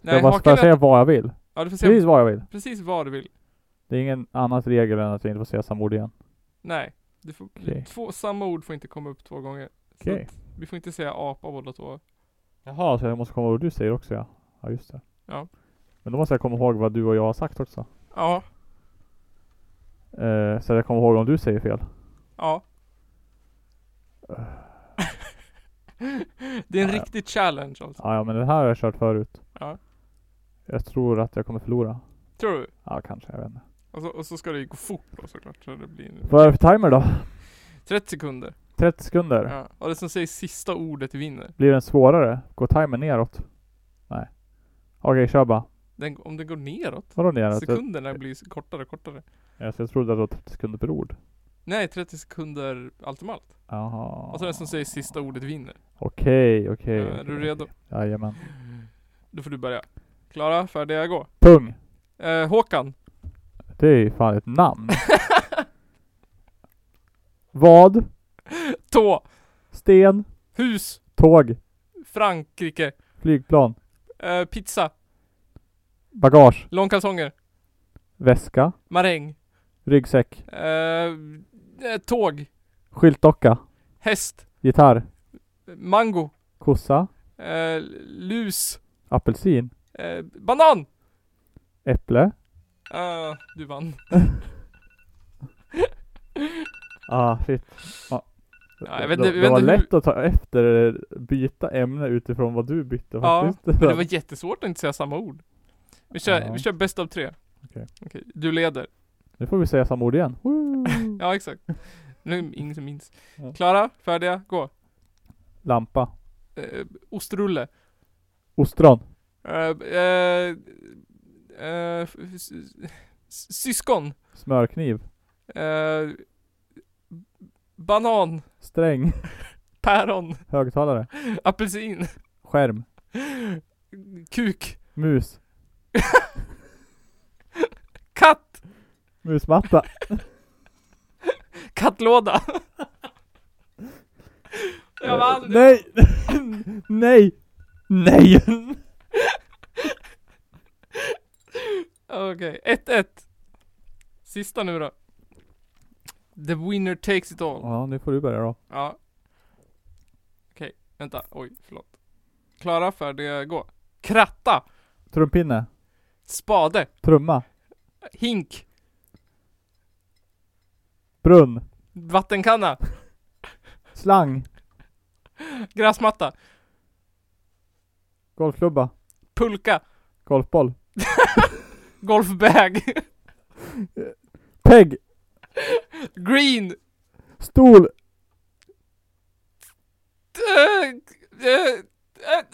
Nej,
jag bara,
haken
får jag
är
säga
att-
vad jag vill?
Ja, du får säga
Precis vad jag vill.
Precis vad du vill.
Det är ingen annat regel än att jag inte får säga samma ord igen.
Nej. Du får,
Okej.
två, samma ord får inte komma upp två gånger. Så
Okej.
att Vi får inte säga apa båda två.
Jaha, så jag måste komma ihåg vad du säger också ja. Ja just det.
Ja.
Men då måste jag komma ihåg vad du och jag har sagt också.
Ja.
Eh, så jag kommer ihåg om du säger fel.
Ja. det är en riktig challenge alltså.
Ja, ja men det här har jag kört förut.
Ja.
Jag tror att jag kommer förlora.
Tror du?
Ja kanske, jag vet inte.
Och så, och så ska det ju gå fort då såklart. Så det blir en...
Vad är det för timer då?
30 sekunder.
30 sekunder?
Ja. Och det som säger sista ordet vinner.
Blir den svårare? Går timern neråt? Nej. Okej, kör bara.
Den, om det går neråt.
Vadå neråt?
Sekunderna blir så kortare och kortare.
Ja, så jag trodde att det var 30 sekunder per ord.
Nej, 30 sekunder allt om allt.
Jaha.
Och så den som säger sista ordet vinner.
Okej, okej.
Ja, är du redo?
Jajamän.
Då får du börja. Klara, färdiga, gå.
Pung!
Eh, Håkan.
Det är ju fan ett namn. Vad?
Tå.
Sten?
Hus.
Tåg?
Frankrike.
Flygplan?
Eh, pizza.
Bagage?
Långkalsonger.
Väska?
Maräng.
Ryggsäck?
Eh, eh, tåg.
Skyltdocka?
Häst.
Gitarr?
Mango.
Kossa?
Eh, lus.
Apelsin?
Eh, banan!
Äpple?
Eh, du vann.
Ah, shit. Ah.
Ja, jag
det
vet inte-
det
jag
var
vet inte hur-
lätt att ta efter, byta ämne utifrån vad du bytte
ja,
faktiskt.
men det var jättesvårt att inte säga samma ord. Vi kör,
Ja.
vi kör bäst av tre.
Okej.
Okej, Du leder.
Nu får vi säga samma ord igen. Woo!
Ja, exakt. Nu är det ingen som minns.
Ja.
Klara, färdiga, gå.
Lampa.
Eh, ostrulle.
Ostron.
Eh, eh, eh, f- s- s- syskon.
Smörkniv.
Eh, banan.
Sträng.
Päron.
Högtalare.
Apelsin.
Skärm.
Kuk.
Mus.
Katt.
Musmatta.
Kattlåda. Jag vann!
Nej! Nej! Nej!
Okej, 1-1. Sista nu då. The winner takes it all.
Ja, nu får du börja då.
Ja. Okej, vänta. Oj, förlåt. Klara, färdiga, gå. Kratta.
Trumpinne.
Spade.
Trumma.
Hink.
Brunn.
Vattenkanna.
Slang.
Gräsmatta.
Golfklubba.
Pulka.
Golfboll.
Golfbag.
Peg.
Green.
Stol.
Eh, eh, eh, eh,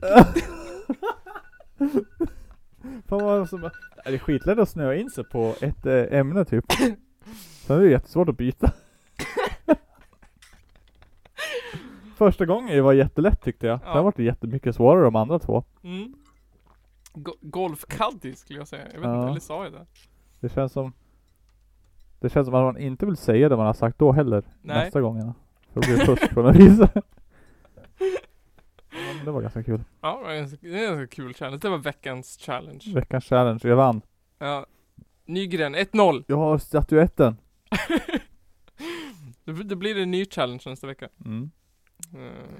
ah!
Fan vad som... Det är skitlätt att snöa in sig på ett eh, ämne typ. Sen är det jättesvårt att byta. Första gången var jättelätt tyckte jag.
Ja.
Sen var det jättemycket svårare de andra två.
Mm. Go- Golfkaddy skulle jag säga. Jag vet
Ja.
inte, eller sa jag det?
Det känns som Det känns som att man inte vill säga det man har sagt då heller
Nej.
nästa gångerna. För då blir det fusk på något vis. ja, men det var ganska kul.
Ja, det är en- det är en ganska kul challenge. Det var veckans challenge.
Veckans challenge, jag vann.
Ja. Nygren, 1-0.
Jag har statyetten.
Då då blir det en ny challenge nästa vecka.
Mm.
Eh,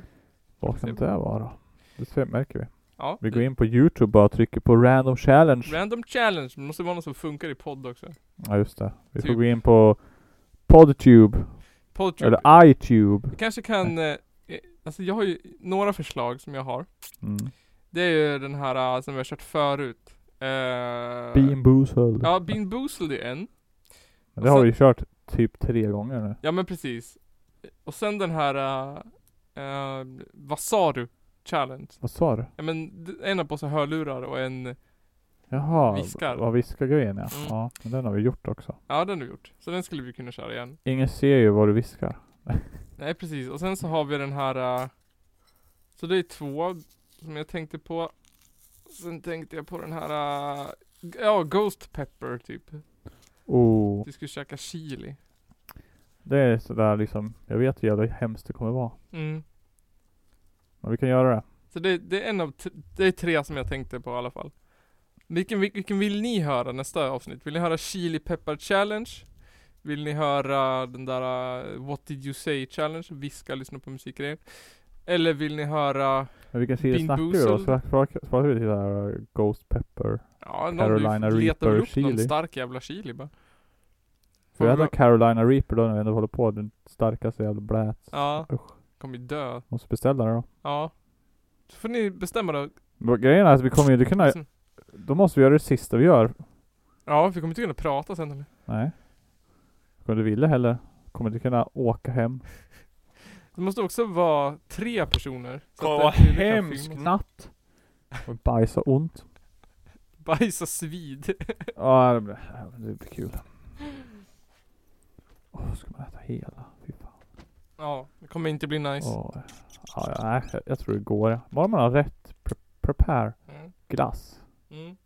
Vad kan det vara? Det ser- märker vi.
Ja,
Vi går in på youtube bara och trycker på random challenge.
random challenge. Det måste vara något som funkar i podd också.
Ja just det. Vi får
Typ.
gå in på Podtube.
Podtube.
Eller iTube.
Vi kanske kan... Eh, eh, alltså jag har ju några förslag som jag har.
Mm.
Det är ju den här eh, som vi har kört förut. Eh,
Bean Boozled.
Ja, Bean Boozled är en.
Men det har vi ju kört typ tre gånger nu.
Ja men precis. Och sen den här... eh, eh, vad sa du? Challenge.
Vad sa du?
Ja men d- en har på sig hörlurar och en
Jaha,
Viskar.
vad viskar grejen ja.
Mm.
ja. Men den har vi gjort också.
Ja, den har vi gjort. Så den skulle vi kunna köra igen.
Ingen ser ju vad du viskar.
Nej, precis. Och sen så har vi den här... eh, så det är två som jag tänkte på. Sen tänkte jag på den här... eh, ja, Ghost Pepper typ.
Oh,
Vi skulle käka chili.
det är sådär liksom. Jag vet hur jävla hemskt det kommer vara.
Mm.
Men vi kan göra det.
Så det, det är en av t- det är tre som jag tänkte på i alla fall. Vilken, vil- vilken vill ni höra nästa avsnitt? Vill ni höra Chili Pepper Challenge? Vill ni höra den där eh, What Did You Say Challenge? Viska, lyssna på musikgrejer. Eller vill ni höra
Men vilken sida
Bean
snackar vi då?
Boozled.
Snack- snack- Snackar vi till det här uh, Ghost Pepper?
Ja,
Carolina
någon, du letar väl
Reaper
upp någon
chili.
stark jävla chili bara. Får
Får vi
vi
äta Carolina Reaper då när vi ändå håller på? Den starkaste jävla blät.
Ja,
Usch.
kommer ju dö.
Måste beställa den då.
Ja. Så får ni bestämma då.
Men Grejen är att vi kommer ju inte kunna...
Sen-
Då måste vi göra det sista vi gör.
Ja, vi kommer inte kunna prata sen. eller?
Nej. Kommer du vilja heller. Kommer du kunna åka hem.
Det måste också vara tre personer. Så
Åh,
att
vad
det- det kan
hemsk
filmas.
natt. Och bajsa ont.
Bajsa svid.
Ja, det blir, det blir kul. Åh, ska man äta hela? Fy fan.
ja, det kommer inte bli nice.
Åh, ja, ja, nej, jag, jag tror det går. Bara man har rätt pre- prepare.
Mm.
Glass.
Mm.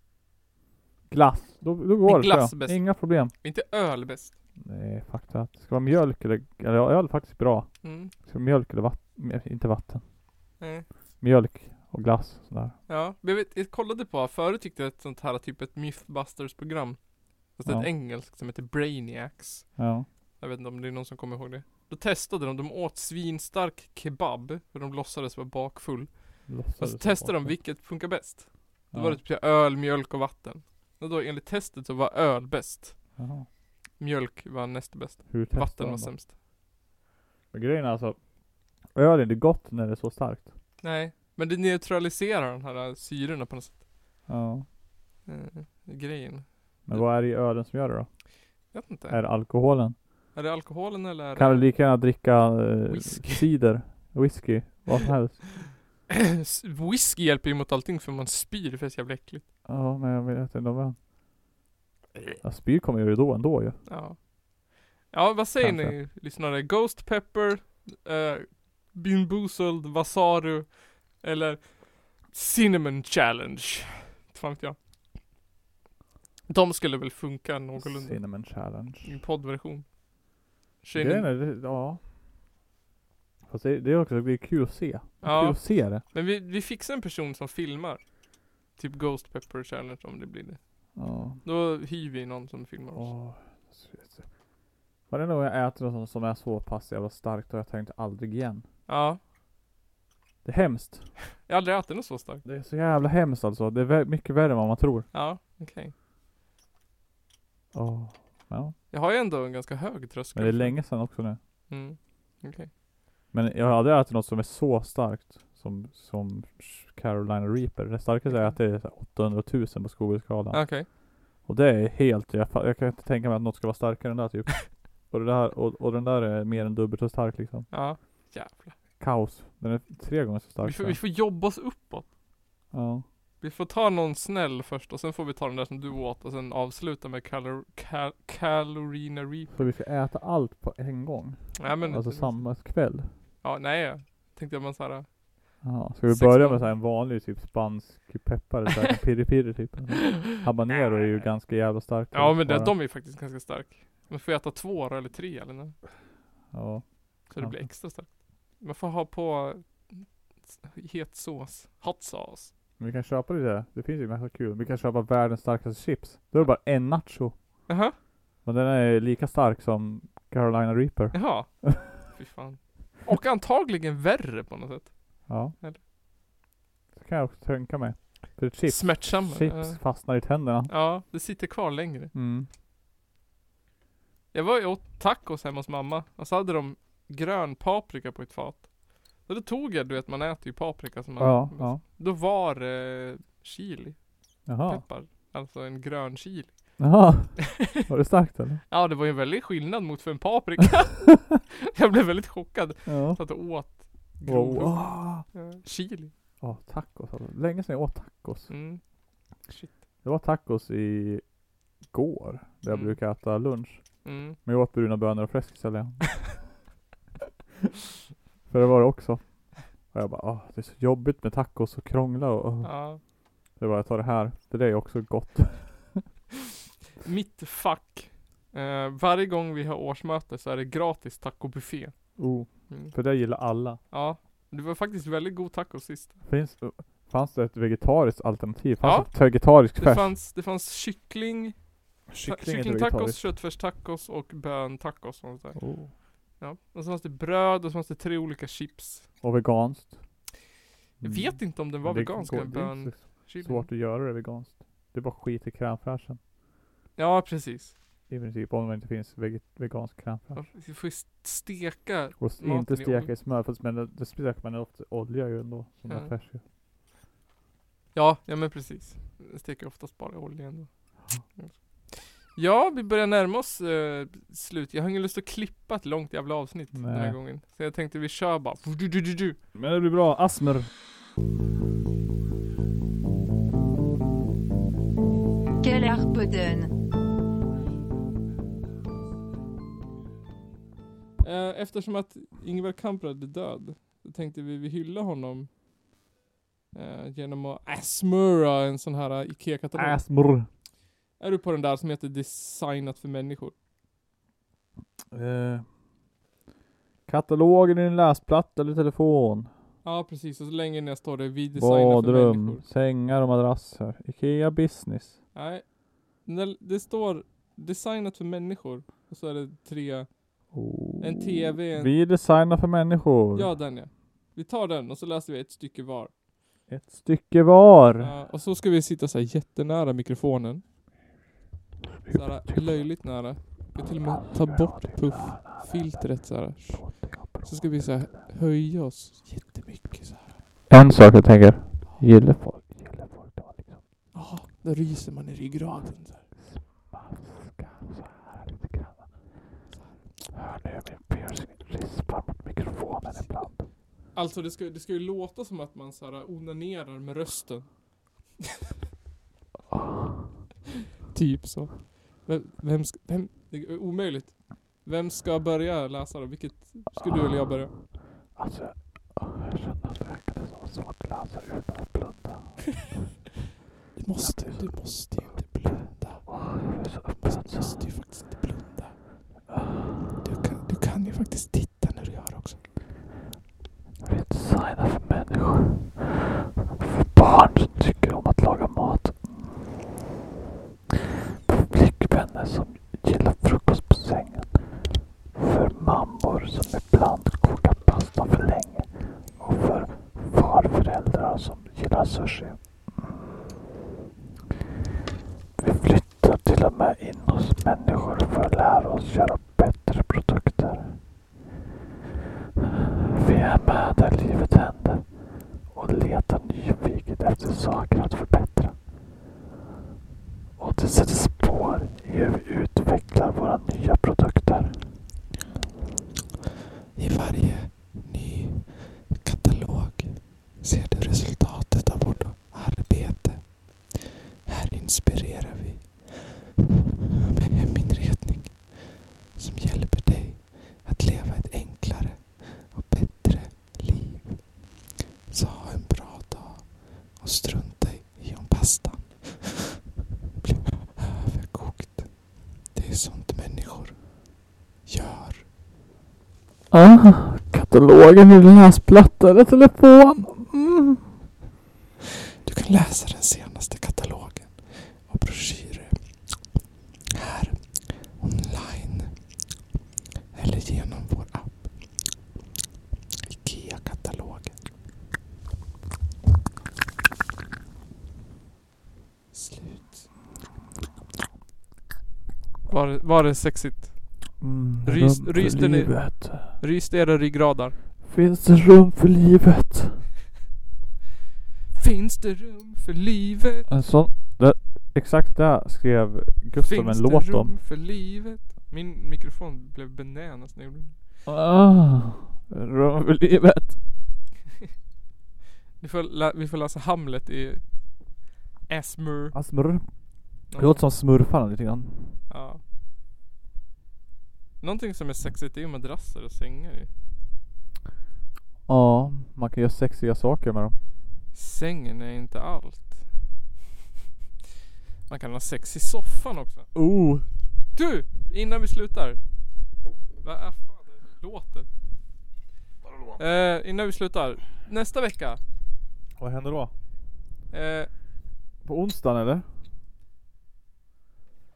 Glass. Då, då går det. tror
glass
jag.
bäst.
Inga problem.
Inte öl bäst.
Nej, fakta. att Det ska vara mjölk eller, eller ja, öl är faktiskt bra.
Mm.
Det ska vara mjölk eller vatten. Inte vatten.
Nej.
Mjölk och glass. Sådär.
Ja, men jag, vet, jag kollade på, förut tyckte jag ett sånt här typ ett Mythbusters-program. Fast
Ja.
ett engelskt som heter Brainiacs.
Ja.
Jag vet inte om det är någon som kommer ihåg det. Då testade de, de åt svinstark kebab, för de låtsades vara bakfull. Och så testade de vilket funkar bäst. Då
Ja.
var det typ så här öl, mjölk och vatten. Och då enligt testet så var öl bäst.
Jaha.
Mjölk var näst bäst.
Hur testade
Vatten
de
var
då?
sämst.
Men grejen är alltså. Öl är inte gott när det är så starkt.
Nej, men det neutraliserar de här syrorna på något sätt.
Ja.
Eh, grejen.
Men vad är det i ölen som gör det då?
Jag vet inte.
Är det alkoholen?
Är det alkoholen eller? är
Kan du
det-
lika gärna dricka eh,
Whisky.
cider, whisky, vad som helst?
S- Whisky hjälper ju mot allting för man spyr för det är så jävla äckligt.
Ja, men jag vet inte om jag... Ja, spyr kommer jag ju då ändå ju.
Ja. Ja, vad säger
Kanske.
ni lyssnare? Ghost Pepper, eh, Bean Boozled, Vasaru eller Cinnamon Challenge? Inte fan vet jag. De skulle väl funka någorlunda
Cinnamon challenge.
i poddversion. Tjejen-
Grejen är, det- ja. Fast det, det är också, det är kul att se. Det är
Ja.
Kul att se det.
Men vi, vi fixar en person som filmar. Typ Ghost Pepper Challenge om det blir det.
Ja.
Då hyr vi någon som filmar oss.
Åh. Varenda gång jag äter något som- som är så pass jävla starkt har jag tänkt aldrig igen.
Ja.
Det är hemskt.
Jag har aldrig ätit något så starkt.
Det är så jävla hemskt alltså. Det är vä- mycket värre än vad man tror.
Ja, okej.
Åh. Ja.
Jag har ju ändå en ganska hög tröskel.
Men det är länge sedan också nu.
Mm. Okej.
Men jag har aldrig ätit något som är så starkt som, som Carolina Reaper. Det starkaste jag ätit är så här 800 000 på Scoville-skalan.
Okej.
Och det är helt, jag, fa- jag kan inte tänka mig att något ska vara starkare än det här, typ. och, det där, och, och den där är mer än dubbelt så stark liksom.
Ja. Jävlar.
Kaos. Den är tre gånger så stark.
Vi får,
tror
vi
jag.
får jobba oss uppåt.
Ja.
Vi får ta någon snäll först och sen får vi ta den där som du åt och sen avsluta med calor, cal, Calorina Reap.
Så vi ska äta allt på en gång?
Nej men.
alltså samma kväll?
Ja, nej. Jag tänkte att man såhär.
Ja. Ska vi
Sex
börja
gånger.
med så här en vanlig typ spansk peppar, så här, en piri-piri typ? Habanero är ju ganska jävla starkt.
Ja men det,
Bara-
de är ju faktiskt ganska stark. Man får äta två då, eller tre eller nåt.
Ja.
Så det blir
Kanske.
extra starkt. Man får ha på het sås. Hot sauce.
Men vi kan köpa lite, det finns ju massa kul. Vi kan köpa världens starkaste chips. Då är det bara en nacho.
Jaha.
Men den är ju lika stark som Carolina Reaper.
Jaha. Fy fan. Och antagligen värre på något sätt.
Ja.
Eller?
Det kan jag också tänka mig. För chips,
Smärtsammare.
chips
ja.
fastnar i tänderna.
Ja, det sitter kvar längre.
Mm.
Jag var och åt tacos hemma hos mamma och så hade de grön paprika på ett fat. Och då tog jag, du vet man äter ju paprika som man Mm.
Ja, ja.
Då var det chili,
Jaha.
peppar. Alltså en grön chili.
Jaha. Var det starkt eller?
Ja det var ju en väldig skillnad mot för en paprika. jag blev väldigt chockad.
Ja.
Så att jag åt grov
Wow. Ah.
ja, chili.
Ja, tacos alltså. Länge sedan jag åt tacos.
Mm.
Det var tacos i går, där jag
Mm.
brukar äta lunch.
Mm.
Men jag åt bruna bönor och fläsk istället. För det var det också. Och jag bara, ah, det är så jobbigt med tacos och krångla och... och.
Ja.
Så jag bara, jag tar det här. Det där är också gott.
Mitt fack. Eh, varje gång vi har årsmöte så är det gratis tacobuffé.
Oh,
Mm.
för det gillar alla.
Ja, det var faktiskt väldigt god taco sist.
Finns, fanns det ett vegetariskt alternativ? Fanns
Ja.
det ett vegetariskt
Det
färs?
fanns, det fanns kyckling,
Kyckling är inte
kycklingtacos,
vegetariskt.
köttfärstacos och böntacos. Och, sånt där.
Oh.
ja. och så fanns det bröd och så fanns det tre olika chips.
och veganskt?
Jag vet inte om den var
Men Mm. det
vegansk,
går-
den
det är
bön-
inte så
chili.
Svårt att göra det veganskt. Det är bara skit i crème
Ja, precis.
I princip, om det inte finns veget- vegansk crème fraiche.
Vi får ju st- steka
Och s-
maten
inte
i
steka
olja.
i smör, fast men det, det steker man ofta i olja ju ändå. Som
Ja.
ja. färs ju.
Ja, ja men precis. Jag steker oftast bara i olja ändå. Ja, vi börjar närma oss eh, slut. Jag har ingen lust att klippa ett långt jävla avsnitt den här
Nej.
gången. Så jag tänkte vi kör bara.
Men det blir bra, Asmer.
Gallarpodden.
Eh, eftersom att Ingvar Kamprad är död, så tänkte vi vi hylla honom eh, genom att asmura en sån här eh, IKEA-katalog.
Asmer.
Är du på den där som heter Designat för människor?
Eh, katalogen i en läsplatta eller telefon.
Ja, precis. Och så länge ner står det vi designar för människor.
Badrum, sängar och madrasser. Ikea business.
Nej. Den där- Det står designat för människor. Och så är det tre. En TV. En...
Vi designar för människor.
Ja, den ja. Vi tar den och så läser vi ett stycke var.
Ett stycke var.
Ja, och så ska vi sitta så här jättenära mikrofonen. Så här löjligt nära. Jag till och med ta bort pufffiltret så här. Så ska vi så här höja oss jättemycket så här.
En sak jag tänker. Gillar folk.
Ja, då ryser man i ryggraden så här. Alltså det ska, det ska ju låta som att man så här onanerar med rösten. typ så. Vem, vem, ska, vem Det är omöjligt. Vem ska börja läsa då? Vilket, ska du eller jag börja?
Alltså, jag känner att det verkade som svart läsare utan att blunda.
Du måste, du måste ju inte blunda. Du måste, måste ju faktiskt inte blunda. Du kan, du kan ju faktiskt titta när du gör också.
Vi designar för människor. För barn som tycker om att laga mat. För flickvänner som gillar frukost på sängen. För mammor som ibland kokar pasta för länge. Och för farföräldrar som gillar sushi. Vi flyttar till och med in hos människor för att lära oss göra bättre produkter. Vi är med där livet händer och letar nyfiket efter saker att förbättra. Och det sätter spår i hur vi utvecklar våra nya produkter.
I varje ny katalog ser du resultatet av vårt arbete. Här inspirerar vi med heminredning som hjälper dig att leva ett enklare och bättre liv. Så ha en bra dag och strunta i om pastan blir överkokt. Det är sånt människor gör.
Ah, katalogen i läsplatta eller telefon. Mm.
Du kan läsa den senaste katalogen och broschyrer här online eller genom vår app IKEA-katalogen. Slut. Var, var det sexigt?
Mm,
Rys-
rum för
ryste ni-
livet.
Ryste era ryggradar.
Finns det rum för livet?
Finns det rum för livet?
En sån, det, exakt det skrev Gustav
Finns
en
det
låt
rum
om.
för livet? Min mikrofon blev bananas när jag gjorde den.
Ah, rum för livet.
Vi får, lä- vi får läsa Hamlet i Asmur.
Asmur.
Ja.
Det låter som smurfarna lite grann.
Ja. Någonting som är sexigt är ju madrasser och sängar ju.
Ja, man kan göra sexiga saker med dem.
Sängen är inte allt. Man kan ha sex i soffan också.
Oh!
Du! Innan vi slutar. Vad är fan det låter? Eh, innan vi slutar. Nästa vecka.
Vad händer då?
Eh,
På onsdagen eller?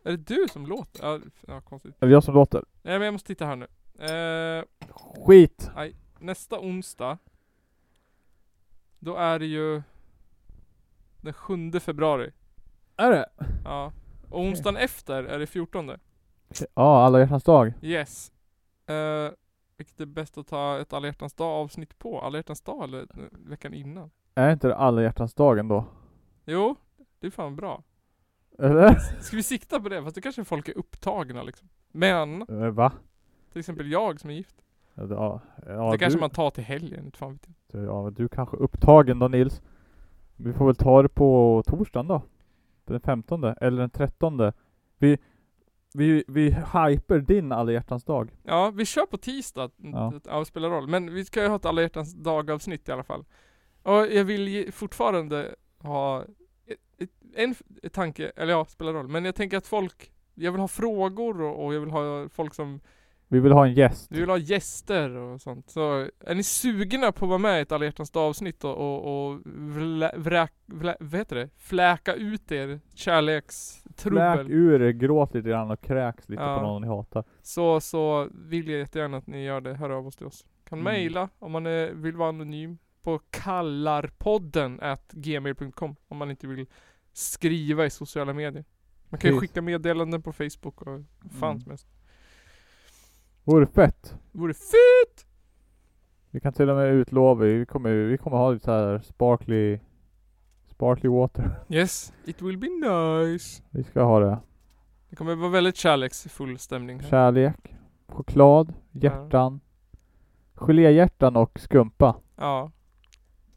är det du som låter? Ja, f- ja konstigt.
Är det jag som låter?
Nej men jag måste titta här nu. Eh,
Skit!
nej, nästa onsdag. Då är det ju den 7 februari.
Är det?
Ja. Och onsdagen efter är det 14.
Ja, alla hjärtans dag.
Yes. Eh, vilket är bäst att ta ett alla hjärtans dag avsnitt på? Alla hjärtans dag eller eh, veckan innan?
Är inte det alla hjärtans dagen då?
Jo, det är fan bra.
Eller?
Ska vi sikta på det? Fast då kanske folk är upptagna liksom. Men,
Eh, Va?
till exempel jag som är gift.
Ja, ja,
det kanske
du,
man tar till helgen, inte fan vet jag.
ja, men du kanske är upptagen då Nils. Vi får väl ta det på torsdagen då. Den 15 eller den 13. Vi, vi, vi hyper din alla hjärtans dag.
Ja, vi kör på tisdag.
Ja.
Ja. det spelar roll. Men vi ska ju ha ett alla hjärtans dag-avsnitt i alla fall. Och jag vill ge- fortfarande ha ett- ett- en f- tanke, eller ja, spelar roll. Men jag tänker att folk, jag vill ha frågor och, och jag vill ha folk som
Vi vill ha en gäst.
Vi vill ha gäster och sånt. Så är ni sugna på att vara med i ett alla hjärtans avsnitt och, och, och vlä, vräk, vlä, vad heter det? fläka ut er
Fläk
kärlekstrubbel.
ur er, gråt lite grann och kräks lite
Ja.
på någon ni hatar.
Så, så vill jag jättegärna att ni gör det. Hör av oss till oss. Kan
Mm.
mejla om man eh, vill vara anonym på kallarpodden at gmail.com om man inte vill skriva i sociala medier. Man kan ju
Precis.
skicka meddelanden på Facebook och fan
Mm.
som helst.
Vore fett!
Vore fett!
Vi kan till och med utlova, vi kommer, vi kommer ha lite så här sparkly, sparkly water.
Yes, it will be nice.
Vi ska ha det.
Det kommer vara väldigt kärleksfull stämning här.
Kärlek, choklad, hjärtan, geléhjärtan och skumpa.
Ja.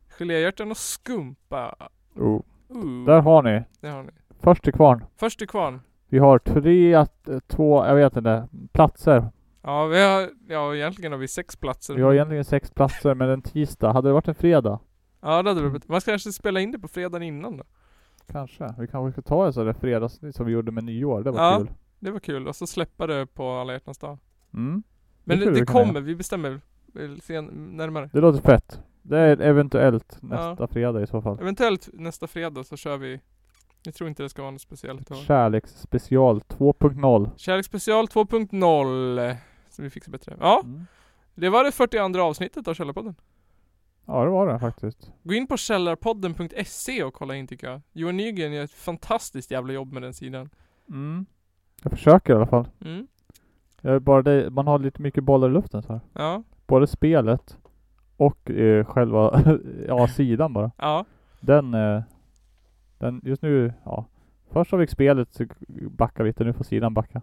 Geléhjärtan och skumpa.
Oh.
Ooh.
Där har ni.
Det har ni.
Först till kvarn.
Först till kvarn.
Vi har tre, att- två, jag vet inte, platser.
Ja, vi har, ja, egentligen har vi sex platser.
Vi har egentligen sex platser men en tisdag. Hade det varit en fredag?
Ja, det hade
Mm.
varit Man ska kanske spela in det på fredagen innan då.
Kanske. Vi kanske ska ta en sån där fredagsnitt som vi gjorde med nyår. Det var
ja,
kul.
det var kul. Och så släppa det på alla hjärtans dag.
Mm.
Men
skulle
det,
vi
det
kunna
kommer. Vi bestämmer väl sen, närmare.
Det låter fett. Det är eventuellt nästa fredag i så fall.
Eventuellt nästa fredag så kör vi. Jag tror inte det ska vara något speciellt. då.
Kärleksspecial 2.0.
Kärleksspecial 2.0. Som vi fixar bättre. Ja. Det var det 42 avsnittet av Källarpodden.
Ja det var det faktiskt.
Gå in på källarpodden.se och kolla in tycker jag. Johan Nygren gör ett fantastiskt jävla jobb med den sidan.
Mm. Jag försöker i alla fall.
Mm.
Jag är bara det, man har lite mycket bollar i luften så här.
Ja.
Både spelet och eh, själva ja, sidan bara.
Ja.
Den, eh, den just nu, ja. Först har vi spelet så backar vi lite, nu får sidan backa.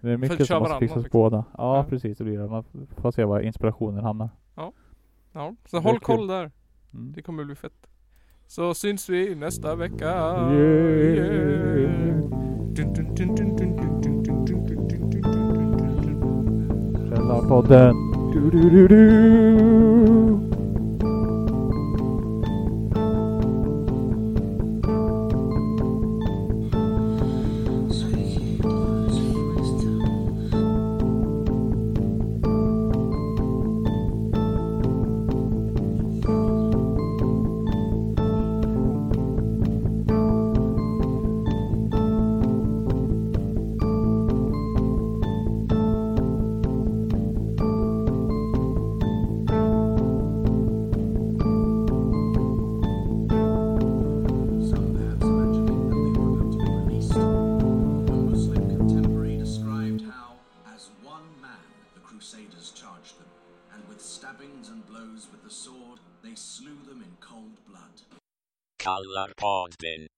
Det är mycket
köra
som måste
varannan
fixas
liksom.
båda. Ja,
Ja.
precis det blir det. Man får se var inspirationen hamnar.
ja.
Det
Så
är
håll
kul.
koll där.
Mm.
Det kommer bli fett. Så syns vi nästa vecka.
Källarpodden. Du, du, du, du.
Muslim contemporary described how, as one man, the Crusaders charged them, and with stabbings and blows with the sword, they slew them in cold blood.
Kallarpodden.